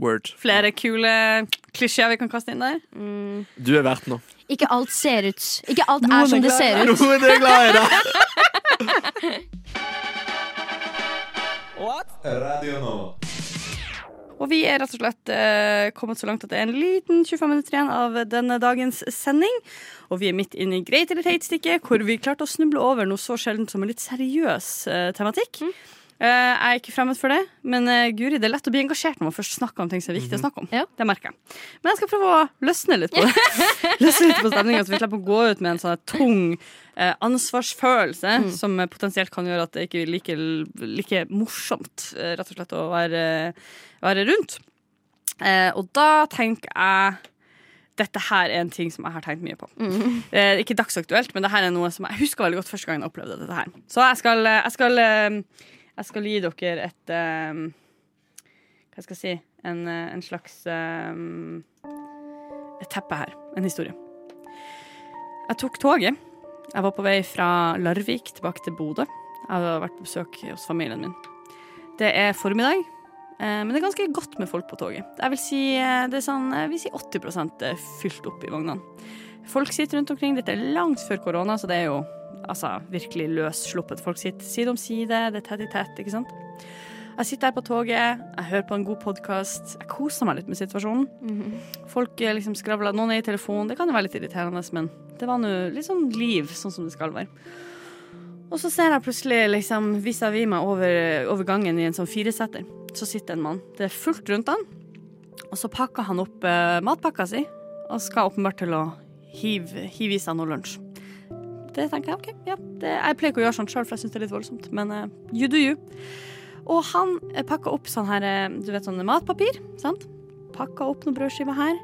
Word. Flere kule klisjeer vi kan kaste inn der. Du er verdt noe. Ikke alt ser ut Ikke alt er som det ser ut. Noen er glad i deg. Radio Nova. Og vi er rett og slett eh, kommet så langt at det er en liten 25 minutter igjen av denne dagens sending. Og vi er midt inne i Greit eller teit-stikket, hvor vi klarte å snuble over noe så sjeldent som en litt seriøs eh, tematikk. Eh, jeg er ikke fremmed for det, men eh, Guri, det er lett å bli engasjert når man først snakker om ting som er viktig å snakke om. Ja. Det merker jeg. Men jeg skal prøve å løsne litt på det. løsne litt på stemningen, så vi slipper å gå ut med en sånn her tung eh, ansvarsfølelse som eh, potensielt kan gjøre at det ikke er like, like morsomt, eh, rett og slett, å være være rundt. Eh, og da tenker jeg dette her er en ting som jeg har tenkt mye på. Eh, ikke dagsaktuelt, men det her er noe som jeg husker veldig godt første gangen jeg opplevde dette her. Så jeg skal, eh, jeg skal, eh, jeg skal gi dere et eh, Hva skal jeg si En, eh, en slags eh, Et teppe her. En historie. Jeg tok toget. Jeg var på vei fra Larvik tilbake til Bodø. Jeg hadde vært på besøk hos familien min. Det er formiddag. Eh, Men det er ganske godt med folk på toget. Jeg vil si, eh, det er sånn, jeg vil si 80 er fylt opp i vognene. Folk sitter rundt omkring. Dette er langt før korona, så det er jo altså, virkelig løssluppet. Folk sitter side om side, det er tett i tett, ikke sant. Jeg sitter her på toget, jeg hører på en god podkast, jeg koser meg litt med situasjonen. Folk eh, liksom skravler, noen er i telefonen, det kan jo være litt irriterende, men det var nå litt sånn liv, sånn som det skal være. Og så ser jeg plutselig liksom vis-à-vis meg over, over gangen i en sånn firesetter så sitter en mann. Det er fullt rundt han. Og så pakker han opp eh, matpakka si og skal åpenbart til å hive, hive i seg noe lunsj. Det tenker jeg, ok, ja. Det, jeg pleier ikke å gjøre sånt sjøl, for jeg syns det er litt voldsomt, men eh, you do you. Og han eh, pakker opp sånn her, eh, du vet, sånn matpapir, sant? Pakker opp noen brødskiver her.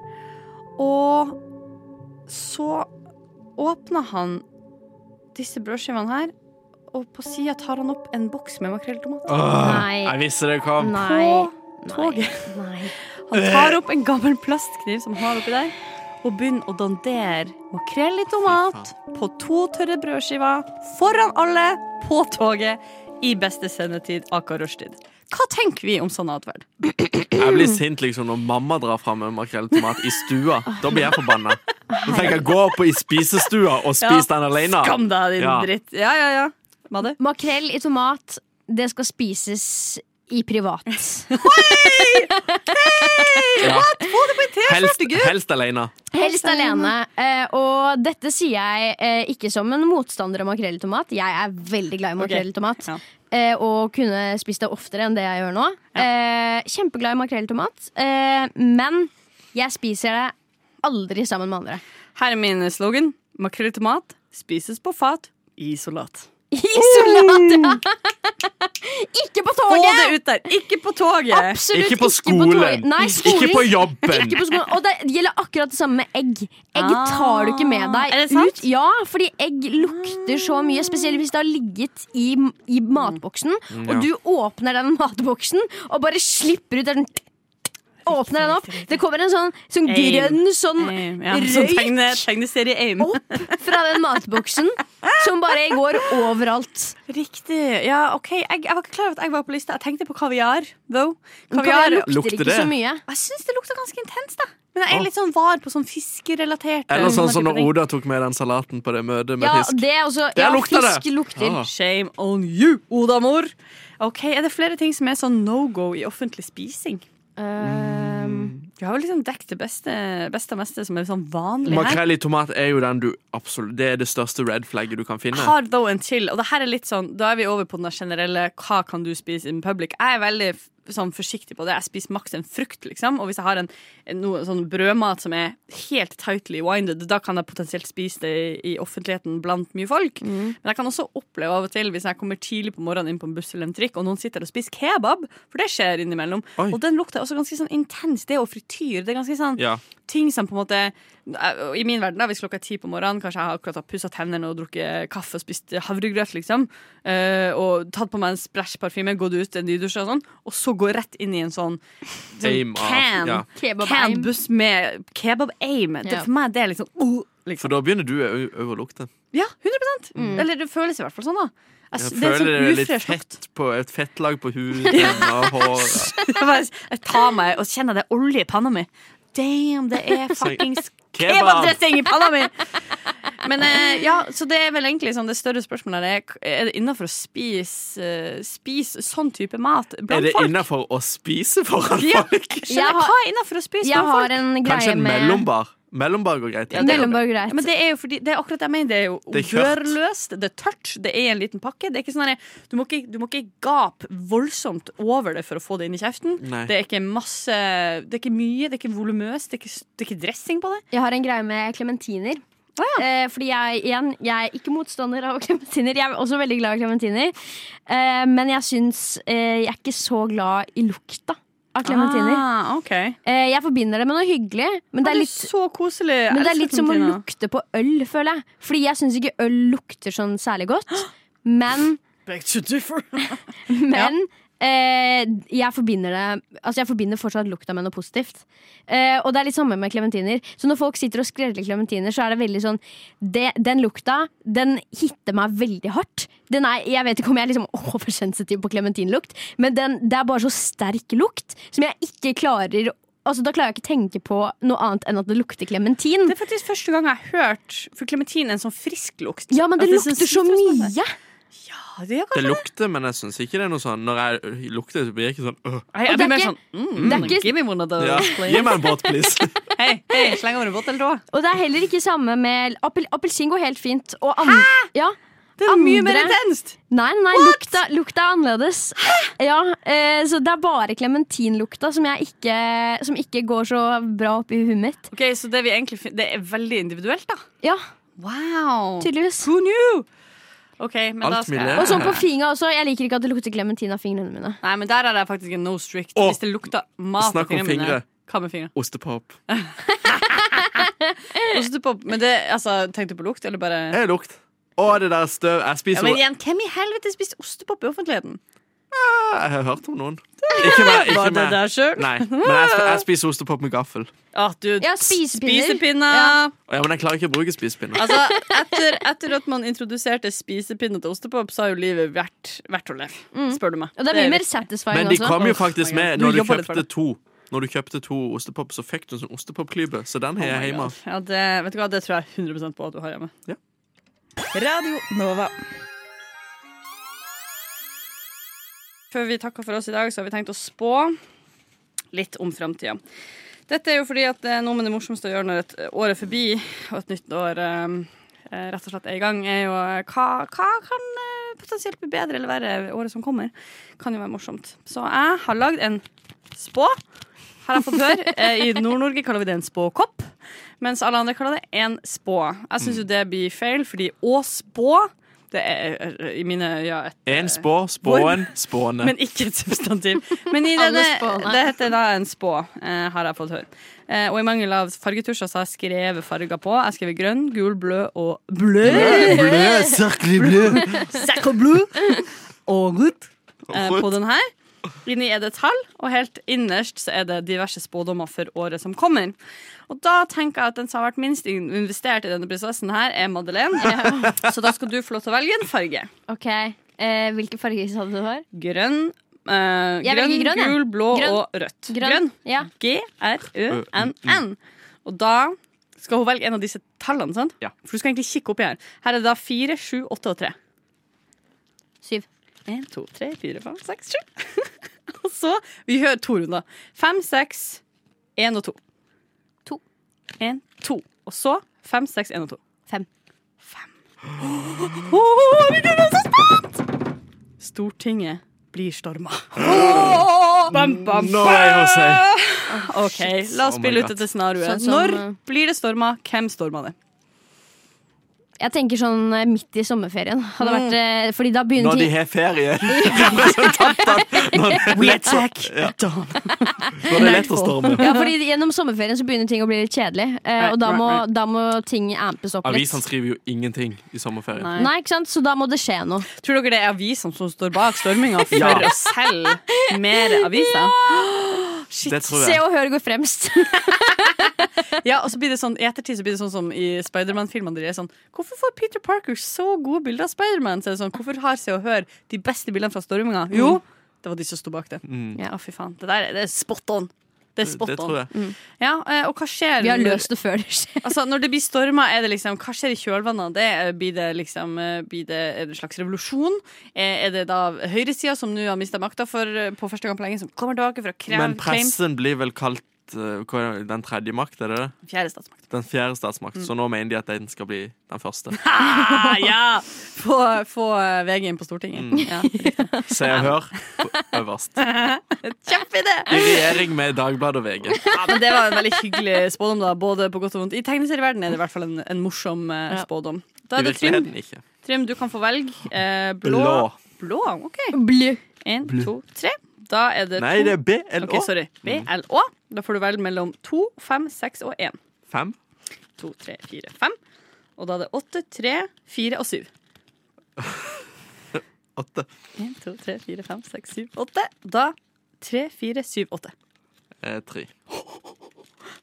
Og så åpner han disse brødskivene her, og på sida tar han opp en boks med makrell i tomat. Nei. Jeg visste det kom. Nei. På toget. Nei. Han Eh. tar opp en gammel plastkniv som han har oppi der, og begynner å dandere makrell i tomat på to tørre brødskiver foran alle på toget i beste sendetid, aka rushtid. Hva tenker vi om sånn atferd? Jeg blir sint liksom når mamma drar fram en makrell i tomat i stua. Da blir jeg forbanna. Da tenker jeg gå opp i spisestua og spis den alene. Skam deg, din Ja. dritt. Ja, ja, ja. Madde? Makrell i tomat, det skal spises i privat. Ja. Helst, gutt. helst alene. Helst alene. Eh, og dette sier jeg eh, ikke som en motstander av makrell i tomat. Jeg er veldig glad i makrell i tomat. Ja. eh, og kunne spist det oftere enn det jeg gjør nå. Eh, kjempeglad i makrell i tomat, eh, men jeg spiser det aldri sammen med andre. Her er min slogan. Makrell i tomat spises på fat i isolat. Isolat! ja. Ikke på Få toget! det ut der! Ikke på toget! Absolutt Ikke på skolen. toget. Nei, skolen. Ikke på jobben. Ikke på skolen. Og det gjelder akkurat det samme med egg. Egg Ah. tar du ikke med deg Er det sant? ut. Ja, fordi egg lukter så mye, spesielt hvis det har ligget i, i matboksen, Mm. og du åpner den matboksen og bare slipper ut sånn den Åpner den opp. Det kommer en sånn, sånn Aim. grønn sånn Ja, som røyk tegne, tegneserie AIM. Eh. opp fra den matboksen som bare går overalt. Riktig. Ja, OK. Jeg, jeg var ikke klar over at jeg var på lista. Jeg tenkte på kaviar. Though. Kaviar Kaviar. lukter Lukter ikke det? så mye. Jeg syns det lukta ganske intenst, da. Men jeg er litt sånn var på sånn fiskerelatert. eh, Eller sånn som type når ting. Oda tok med den salaten på det møtet med Ja, fisk. det er også, Der ja, lukter det. fisk lukter. Ah. Shame on you, Oda-mor. Ok, Er det flere ting som er sånn no go i offentlig spising? Mm. Du har vel liksom dekket det beste, beste og meste som er sånn vanlig her. Makrell i tomat er jo den du absolutt Det er det største red flagget du kan Jeg finne. har though en til, og det her er litt sånn Da er vi over på den der generelle hva kan du spise in public. Jeg er veldig f- sånn forsiktig på det. Jeg spiser maks en frukt, liksom. Og hvis jeg har en, en noe sånn brødmat som er helt tightly winded, da kan jeg potensielt spise det i, i offentligheten blant mye folk. Men jeg kan også oppleve av og til, hvis jeg kommer tidlig på morgenen inn på en buss eller en trikk, og noen sitter og spiser kebab, for det skjer innimellom, Oi. og den lukter også ganske sånn intens. Det og frityr. Det er ganske sånn Ja. ting som på en måte eh, I min verden, da, hvis klokka er ti på morgenen, kanskje jeg har akkurat har pussa tennene og drukket kaffe og spist havregrøt, liksom, eh, og tatt på meg en spræsj parfyme, gått ut en nydusj og sånn, og så gå rett inn i en sånn, sånn Aim av- can, ja. Kebab can aim. buss med kebab-aim. Det- Ja. For meg det er liksom, uh, liksom. For da begynner du å- å å lukte. Ja, 100 Mm. Eller det føles i hvert fall sånn, da. Jeg, Jeg det er føler det er sånn litt ufresh lukt. fett på, et fettlag på huden og håret. Jeg bare- jeg tar meg og kjenner det er olje i panna mi. Damn, det er fuckings kebabdressing i panna mi! Men eh, ja, så det er vel egentlig sånn det større spørsmålet er Er det innafor å spise eh, Spise sånn type mat Er blant det folk? innafor å spise foran Ja. folk? Jeg Skjønner, har- hva er innafor å spise Jeg blant folk? har en Kanskje greie en med mellombar? Mellombar går greit. Ja, det er jo- Mellombar greit. Ja, men det er jo fordi, det er akkurat det jeg mener. Det er jo Det er kjørt. odørløst, det er tørt, det er i en liten pakke. Det er ikke sånn der, du, må ikke, du må ikke gape voldsomt over det for å få det inn i kjeften. Nei. Det er ikke masse Det er ikke mye, det er ikke volumøst, det, er ikke- det er ikke dressing på det. Jeg har en greie med klementiner. eh, fordi jeg, igjen, jeg er ikke motstander av klementiner. Jeg er også veldig glad i klementiner. Eh, men jeg syns eh, Jeg er ikke så glad i lukta av klementiner. Ah, ok. Eh, jeg forbinder det med noe hyggelig, men det er litt, så koselig. Jeg men det er elsker litt som å klementiner. lukte på øl, føler jeg. Fordi jeg syns ikke øl lukter sånn særlig godt. Men, Back to differ. men eh, jeg forbinder det Altså jeg forbinder fortsatt lukta med noe positivt. Eh, og det er litt samme med klementiner. Så når folk sitter og skreller klementiner, så er det veldig sånn det, Den lukta, den hitter meg veldig hardt. Den er, jeg vet ikke om jeg er liksom oversensitiv på klementinlukt, men den, det er bare så sterk lukt som jeg ikke klarer Altså Da klarer jeg ikke tenke på noe annet enn at det lukter klementin. Det er faktisk første gang jeg har hørt For klementin er en sånn frisk lukt. Ja, men det At er sånn lukter så sitrusmasse. mye! Ja, det er kanskje Det lukter, men jeg syns ikke det er noe sånn Når jeg lukter, så blir jeg ikke sånn øh. Hei, Jeg Og det blir er mer ikke- sånn mm, det er ikke- Give me one of those, ja. Gi please. meg en båt, please. Hei, hei, sleng over en båt eller to. Og det er heller ikke samme med appel, Appelsin går helt fint. Og Hæ?! Ja, Det er mye mer Andre- intenst! Nei, nei, lukta, lukta er annerledes. Ja, eh, så det er bare klementinlukta som, jeg ikke, som ikke går så bra opp i huet mitt. Ok, Så det, vi egentlig, fin- det er veldig individuelt, da. Ja, Wow. tydeligvis. Who knew? Ok, men Alt da skal mulig. jeg Og sånn på fingra også. Jeg liker ikke at det lukter klementin av fingrene mine. Nei, men der er det faktisk en no strict. Å. Hvis det lukter mat Snakk om mine- fingre. Hva med fingre? Ostepop. Ostepop. Men det, altså, tenkte du på lukt, eller bare Er det lukt? Å, det der støv. Jeg Ja, spiser men igjen, hvem i helvete spiste ostepop i offentligheten? Jeg har hørt om noen. Ikke meg. Ikke Var det meg. der sjøl? Nei, men jeg, sp- jeg spiser ostepop med gaffel. Ah, du, Ja, spisepinner. spisepinner. Ja, men jeg klarer ikke å bruke spisepinne. Altså, etter, etter at man introduserte spisepinner til ostepop, så har jo livet vært verdt å leve. Spør du meg. Mm. Og det er mye mer viktig. satisfying Men de også. kom jo Åh, my faktisk God. med Du når du jobber litt for kjøpte to. Når du kjøpte to ostepop, så fikk du en sånn ostepopklype. Så den har Oh my jeg hjemme. God. Ja, det, vet du hva, det tror jeg 100 på at du har hjemme. Ja. Radio Nova. Før vi takker for oss i dag, så har vi tenkt å spå litt om framtida. Dette er jo fordi at det er noe med det morsomste å gjøre når et år er forbi, og et nytt år eh, eh, rett og slett er i gang, er jo eh, hva, hva kan eh, potensielt bli bedre eller verre året som kommer. Kan jo være morsomt. Så jeg har lagd en spå. Har jeg fått høre. Eh, I Nord-Norge kaller vi det en spåkopp, mens alle andre kaller det en spå. Jeg syns jo det blir feil, fordi å spå, det er eh, i mine øyne et En spå, spåen, spåne. men ikke et substantiv. Men i Alle denne, spåene. det heter da en spå, eh, har jeg fått høre. Eh, og i mangel av fargetusjer så har jeg skrevet farger på. Jeg har skrevet grønn, gul, blød og blø. Blø, sørgelig blø. Sakk og blod. Og godt. Eh, Og godt. på den her. Inni er det tall, og helt innerst så er det diverse spådommer for året som kommer. Og da tenker jeg at den som har vært minst in- investert i denne prosessen her, er Madeleine. Så da skal du få lov til å velge en farge. Ok, eh, Hvilke farger sa du det var? Grønn, eh, Jeg grønn, velger grønn, jeg. gul, blå Grønn. og rødt. grønn. Ja. G-R-Ø-N-N. Og da skal hun velge en av disse tallene, sant? Ja. For du skal egentlig kikke oppi her. Her er det da fire, sju, åtte og tre. Syv. En, to, tre, fire, fem, seks, sju. og så Vi hører to runder. Fem, seks, én og to. To. En, to. Og så fem, seks, én og to. Fem. Fem. Åh, herregud, jeg er så spent! Stortinget blir storma. Bam, bam, Nå er jeg hos deg. OK, la oss Oh my spille ut God. dette scenarioet. Sånn som, Når eh, blir det storma? Hvem storma det? Jeg tenker sånn eh, midt i sommerferien. Hadde vært, eh, fordi da begynner Når de ting har ferie. Når det er lett å- ja. Når det er lett å storme. ja, fordi Gjennom sommerferien så begynner ting å bli litt kjedelig, eh, Right, og da right, må, right. da må ting ampes opp litt. Avisene skriver jo ingenting i sommerferien. Nei. Nei, ikke sant? Så da må det skje noe. Tror dere det er avisene som står bak storminga for Ja. å selge mer aviser? Det tror Se jeg. og Hør går fremst. Ja, og så blir det sånn, I ettertid så blir det sånn som i Spiderman-filmene. der det er Sånn, hvorfor får Peter Parker så gode bilder av Spiderman? Så er det sånn, hvorfor har Se og Hør de beste bildene fra storminga? Mm. Jo, det var de som sto bak det. Ja, fy faen. Det der er- det er spot on. Det er spot Det tror on. jeg. Ja, eh, og hva skjer? Vi har når- løst det før det skjer. Altså, når det blir storma, er det liksom Hva skjer i kjølvannet? av Det Eh, blir det liksom eh, blir det, Er det en slags revolusjon? Eh, Er det da høyresida som nå har mista makta for eh, på første gang på lenge, som kommer tilbake for å kreve Men claims? pressen blir vel kalt eh, hva er det, den tredje makt, er det det? Fjerde statsmakt. Den fjerde statsmakt. Mm. Så nå mener de at den skal bli den første. Ah, ja! Få, få eh, VG inn på Stortinget. Mm. Ja. Se og hør på øverst. Kjempeidé! I regjering med Dagbladet og VG. Ja, men det var en veldig hyggelig spådom, da, både på godt og vondt. I tegneserieverdenen er det i hvert fall en, en morsom eh, spådom. Da I er det Trym. virkeligheten ikke. Trym, du kan få velge. Eh, blå. Blå. Blå, OK. Blu. Én, to, tre. Da er det Nei, to det er BLÅ. Mm. Ok, sorry. BLÅ. Da får du velge mellom to, fem, seks og én. Fem. To, tre, fire, fem. Og da er det åtte, tre, fire og syv. Åtte. En, to, tre, fire, fem, seks, syv, åtte. Da tre, fire, syv, åtte. Eh, tre.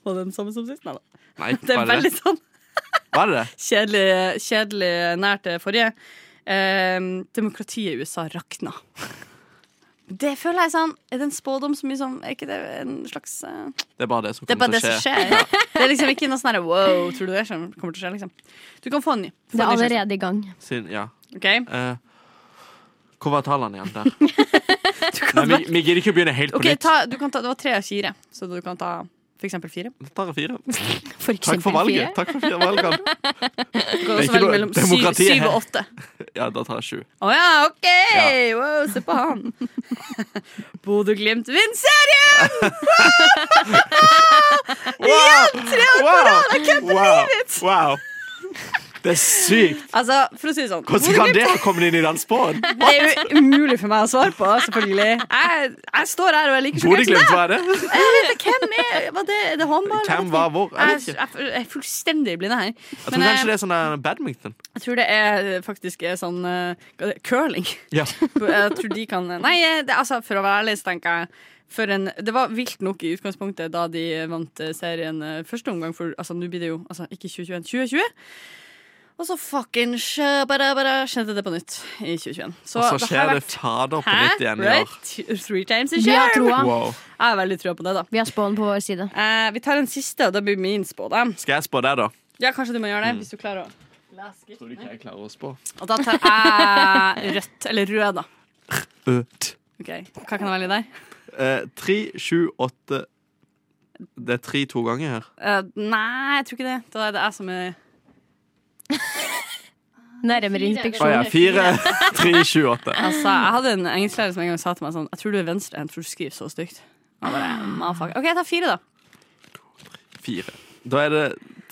Var det den samme som sist? Nei da. Nei, Det er var det veldig det? sånn Var det det? kjedelig, kjedelig nært det forrige. Ehm, demokratiet i USA rakna. Det føler jeg er sånn Er det en spådom som liksom Er ikke det en slags eh, Det er bare det som Det er kommer bare det til å som skje. skjer. Det er liksom ikke noe sånn her, wow, tror du det skjer? kommer til å skje, liksom. Du kan få en ny. Få en Det er ny sjanse. allerede i gang. Siden, ja. Ok? Eh, hvor var tallene igjen der? Nei, vi, vi gidder ikke å begynne helt på Ok, nytt. ta, du kan ta, Det var tre av fire, så du kan ta for eksempel fire. Det tar jeg fire. For Takk for eksempel valget. fire. Takk for fire valgene. Du kan ikke også velge noe mellom syv, demokrati syv her. og åtte. Ja, da tar jeg sju. Å ja, OK! Wow, se på han. Bodø-Glimt vinner serien! Wow! Wow! Wow! wow! Det er sykt! Altså, for å si det sånn Hvordan kan det ha kommet inn i den spåen? Det er jo umulig for meg å svare på, selvfølgelig. Jeg, jeg står her og er like sjokkert som Bodø-Glimt, deg. hva er det? Jeg vet ikke, Hvem er var det? Er det håndball? Jeg vet Hvem var ikke. hvor? Jeg Jeg, vet jeg, ikke. er fullstendig blind her. Jeg Men eh, tror jeg- kanskje det er sånn der badminton. jeg tror det er faktisk er sånn eh, hva er det? curling. Ja. Jeg tror de kan Nei, det, altså, for å være ærlig, så tenker jeg for en, Det var vilt nok i utgangspunktet da de vant eh, serien eh, første omgang, for altså, nå blir det jo altså, ikke 2021, 2020. Og så fucking sjø- bare, bare, skjedde det på nytt i 2021. Så, Og så har skjer det vært- fader på Hæ? nytt igjen i Right? år. Three times a Vi har charm. troa. Wow. Jeg har veldig trua på det, da. Vi har spåen på vår side. Eh, vi tar en siste, og da blir min spådom. Skal jeg spå deg, da? Ja, kanskje du må gjøre det, Mm. hvis du klarer å Tror du ikke jeg klarer å spå? Og da tar jeg rødt, eller rød, da. Øt. Ok, Hva kan jeg velge der? Eh, Tre, sju, åtte Det er tre to ganger her. Eh, nei, jeg tror ikke det. Da er det jeg som er Nærmere Å inspeksjon. ja. 4, 3, 28. Altså, jeg hadde en engelsklærer som en gang sa til meg sånn Jeg tror du er venstrehendt, for du skriver så stygt. Jeg bare, «Motherfucker». OK, jeg tar fire, da. 4. Da er det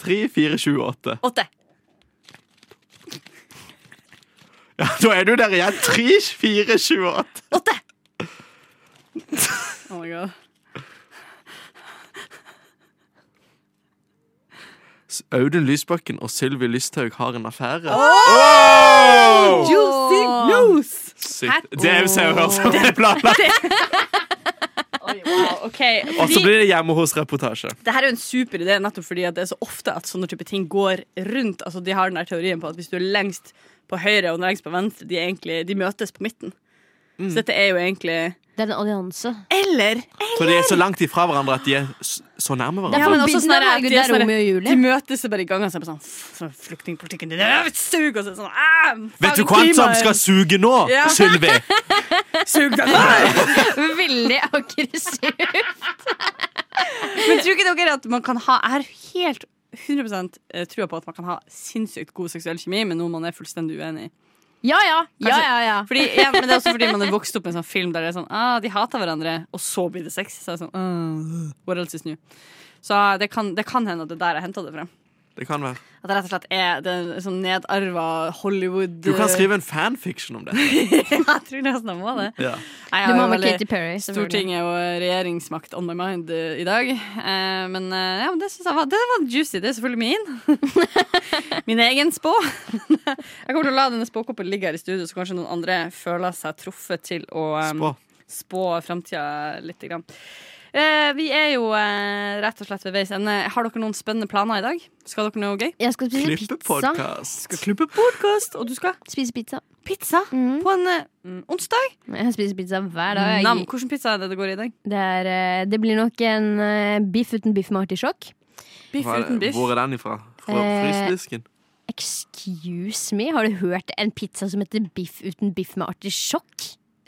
3, 4, 28. Åtte. Ja, da er du der igjen. 3, 4, 28. Åtte! Oh my god. Audun Lysbakken og Sylvi Lysthaug har en affære. Juicy news! Sykt. Det er jo Se og Hør som er planlagt. Oi, wow, ok. Og så Fordi, blir det Hjemme hos-reportasje. det her er jo en super idé, nettopp fordi at det er så ofte at sånne type ting går rundt. Altså, de har den der teorien på at hvis du er lengst på høyre og lengst på venstre, de, er egentlig, de møtes på midten. Mm. Så dette er jo egentlig Det er en allianse. Eller For de er så langt ifra hverandre at de er s- så nærme Det hverandre. er Ja, men også forbindende sånn der- Norge, de det er er sånn der- Romeo og De Julie. møtes bare i gangen og så er det bare sånn, "F- sånn Flyktningpolitikken din er et sug! Og så er det sånn "Ah, Vet du faen, hvem som klimaet, skal suge nå, Ja. Sylvi? Sug deg ned! Veldig aggressiv. Men tror ikke dere at man kan ha Jeg har helt 100 trua på at man kan ha sinnssykt god seksuell kjemi med noen man er fullstendig uenig i. Ja, ja. ja, ja, ja. Fordi, ja, men det er også fordi man er vokst opp med en sånn film der det er sånn ah, de hater hverandre, og så blir det sex. Så, er det sånn, «Ah, what else is new? så ah, det, kan, det kan hende at det er der jeg henta det fra. Det kan være. At det rett og slett er det er en sånn nedarva Hollywood Du kan skrive en fanfiction om det. Jeg tror nesten jeg må det. Ja. Nei, jeg Du har må jo med veldig Katy Perry. selvfølgelig. Stortinget og regjeringsmakt on my mind eh, i dag. Eh, men eh, ja, men det synes jeg var, det var juicy. Det er selvfølgelig min. min egen spå. jeg kommer til å la denne spåkoppen ligge her i studio, så kanskje noen andre føler seg truffet til å eh, Spå. spå framtida litt. Grann. Eh, vi er jo eh, rett og slett ved veis ende. Har dere noen spennende planer i dag? Skal dere noe gøy? Jeg skal spise pizza. Klippepodkast. Klippe podkast, og du skal Spise pizza. pizza på en eh, mm, onsdag. Jeg spiser pizza hver dag. Nam, Mhm. Jeg, Hvilken pizza er det det går i i dag? det, er, eh, det blir nok en eh, biff uten biff med artisjokk. Biff Hva er uten det- biff. Hvor er den ifra? Fra Eh, frysedisken? Excuse me, har du hørt en pizza som heter biff uten biff med artisjokk?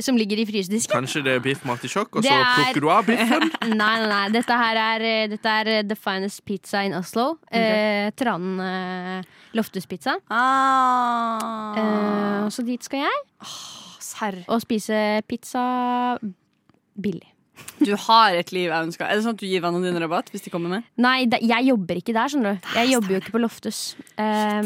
Som ligger i frysedisken? Kanskje det er biff med artisjokk, og det så er- plukker du av biffen? Nei, nei, nei. Dette her er, eh, dette er eh, The Finest Pizza in Oslo. Eh, Tranen eh, Loftuspizza. Eh, Ah. så dit skal jeg. Serr. Og spise pizza billig. Du har et liv jeg ønsker. Er det sånn at du gir vennene dine rabatt hvis de kommer med? Nei, det, jeg jobber ikke der, skjønner du. Jeg jobber jo ikke på Loftus. Eh,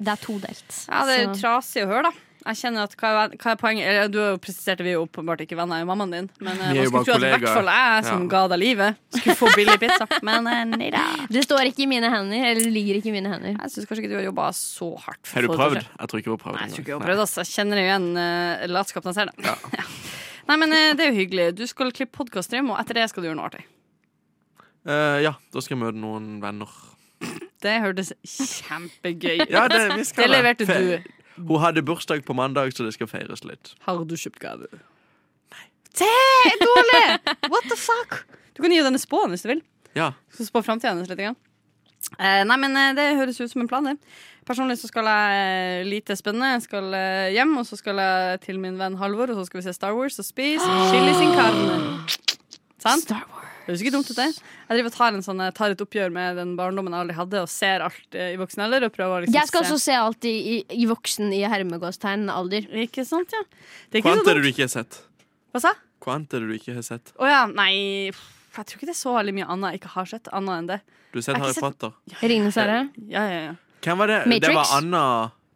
det er todelt. Så- trasig å høre, da. Jeg kjenner at hva er, hva er poenget? Eller, Du har jo presisert det, vi er jo åpenbart ikke venner, jeg er jo mammaen din. Men eh, Vi er man jo skulle tro at i bare hvert fall kollegaer. jeg som Ja. ga deg livet, skulle få billig pizza. Men eh, nei da. det står ikke i mine hender. Eller det ligger ikke i mine hender. Jeg syns kanskje ikke du har jobba så hardt. for å få Har du det prøvd? til. Jeg tror ikke jeg har prøvd. Nei, jeg tror ikke jeg engang. har prøvd, altså. Jeg kjenner igjen uh, latskapen jeg ser, da. Ja. Nei, men eh, det er jo hyggelig. Du skal klippe podkaststream, og etter det skal du gjøre noe artig. Eh, ja, da skal jeg møte noen venner. Det hørtes kjempegøy ut. Ja, det, vi skal Det leverte Fe- du. Hun hadde bursdag på mandag, så det skal feires litt. Har du kjøpt gave? Nei. Det er dårlig! What the fuck? Du kan gi denne spåen hvis du vil. Ja. Så spå fremtiden hennes litt. Grann. Eh, nei, men eh, Det høres ut som en plan. det Personlig så skal jeg eh, lite spennende. Jeg skal eh, hjem, og så skal jeg til min venn Halvor, og så skal vi se Star Wars og spise chili sin carne. Sant? Star Wars. Høres ikke dumt ut, det. Jeg driver og tar, en sånn, eh, tar et oppgjør med den barndommen jeg aldri hadde, og ser alt eh, i voksen alder. Og prøver å liksom Jeg skal se- også se alt i, i, i voksen i hermegåstegn alder. Ikke sant, ja. Det er ikke Kvant så er det du dumt. ikke har sett? Hva sa jeg? Kvant er det du ikke har sett? Å ja, nei pff, Jeg tror ikke det er så veldig mye annet jeg ikke har sett. Annet enn det. Du har sett Jeg har Harry ikke sett- Potter? Ringenes herre. Ja, ja, ja. Hvem var det? Det Matrix? var Anna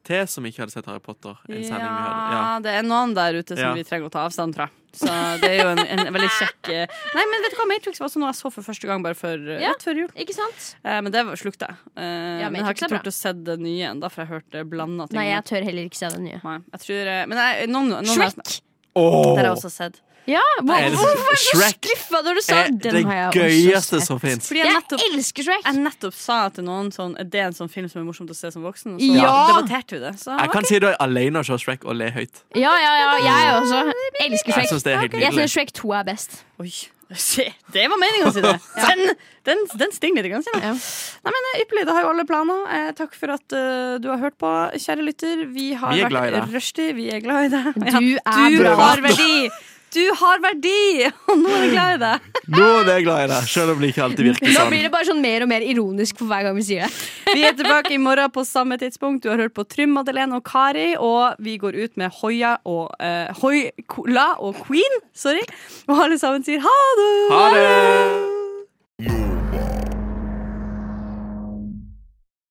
T som ikke hadde sett Harry Potter. En sending vi hadde. Ja. det er noen der ute som Ja. vi trenger å ta avstand fra. Så det er jo en, en veldig kjekk eh, Nei, men vet du hva, Matrix var også noe jeg så for første gang bare for, eh, Ja. rett før jul. Ikke sant? Eh, men det var- slukte jeg. Eh, men jeg har Matrix ikke er bra. turt å se det nye ennå, for jeg hørte blanda ting. Nei, jeg tør heller ikke se den nye. Nei, jeg tror, eh, men jeg, noen, noen Shrek! Det har Åh! jeg også sett. Ja, hvor, Er det- Hvorfor er du så Shrek skuffa når du sa Er den? Eh, det har jeg gøyeste også sett. som fins. Fordi jeg nettopp, Jeg elsker Shrek! jeg nettopp sa til noen sånn Er det en sånn film som er morsomt å se som voksen? Og så Ja. debatterte vi det. Så Jeg kan si du er alene og ser Shrek og le høyt. Ja, ja, ja, jeg også. Elsker Jeg Shrek. syns det er helt Jeg nydelig. Sånn. syns Shrek 2 er best. Oi, se, det var meninga si, det! Den, den, den stinger litt. Grann, sier jeg. Ja. Nei, men eh, Ypperlig, da har jo alle planer. Eh, takk for at eh, du har hørt på, kjære lytter. Vi har Vi er glad i vært deg. rushtid. Vi er glad i deg. Du er du bra. har verdi! Du har verdi! Og nå er jeg glad i deg. Nå er jeg glad i deg, selv om det ikke alltid virker Nå sånn. blir det bare sånn mer og mer ironisk for hver gang vi sier det. Vi er tilbake i morgen på samme tidspunkt. Du har hørt på Trym, Madeleine og Kari. Og vi går ut med Hoia og eh, Hoi Cola og Queen. Sorry. Og alle sammen sier ha det! Ha det!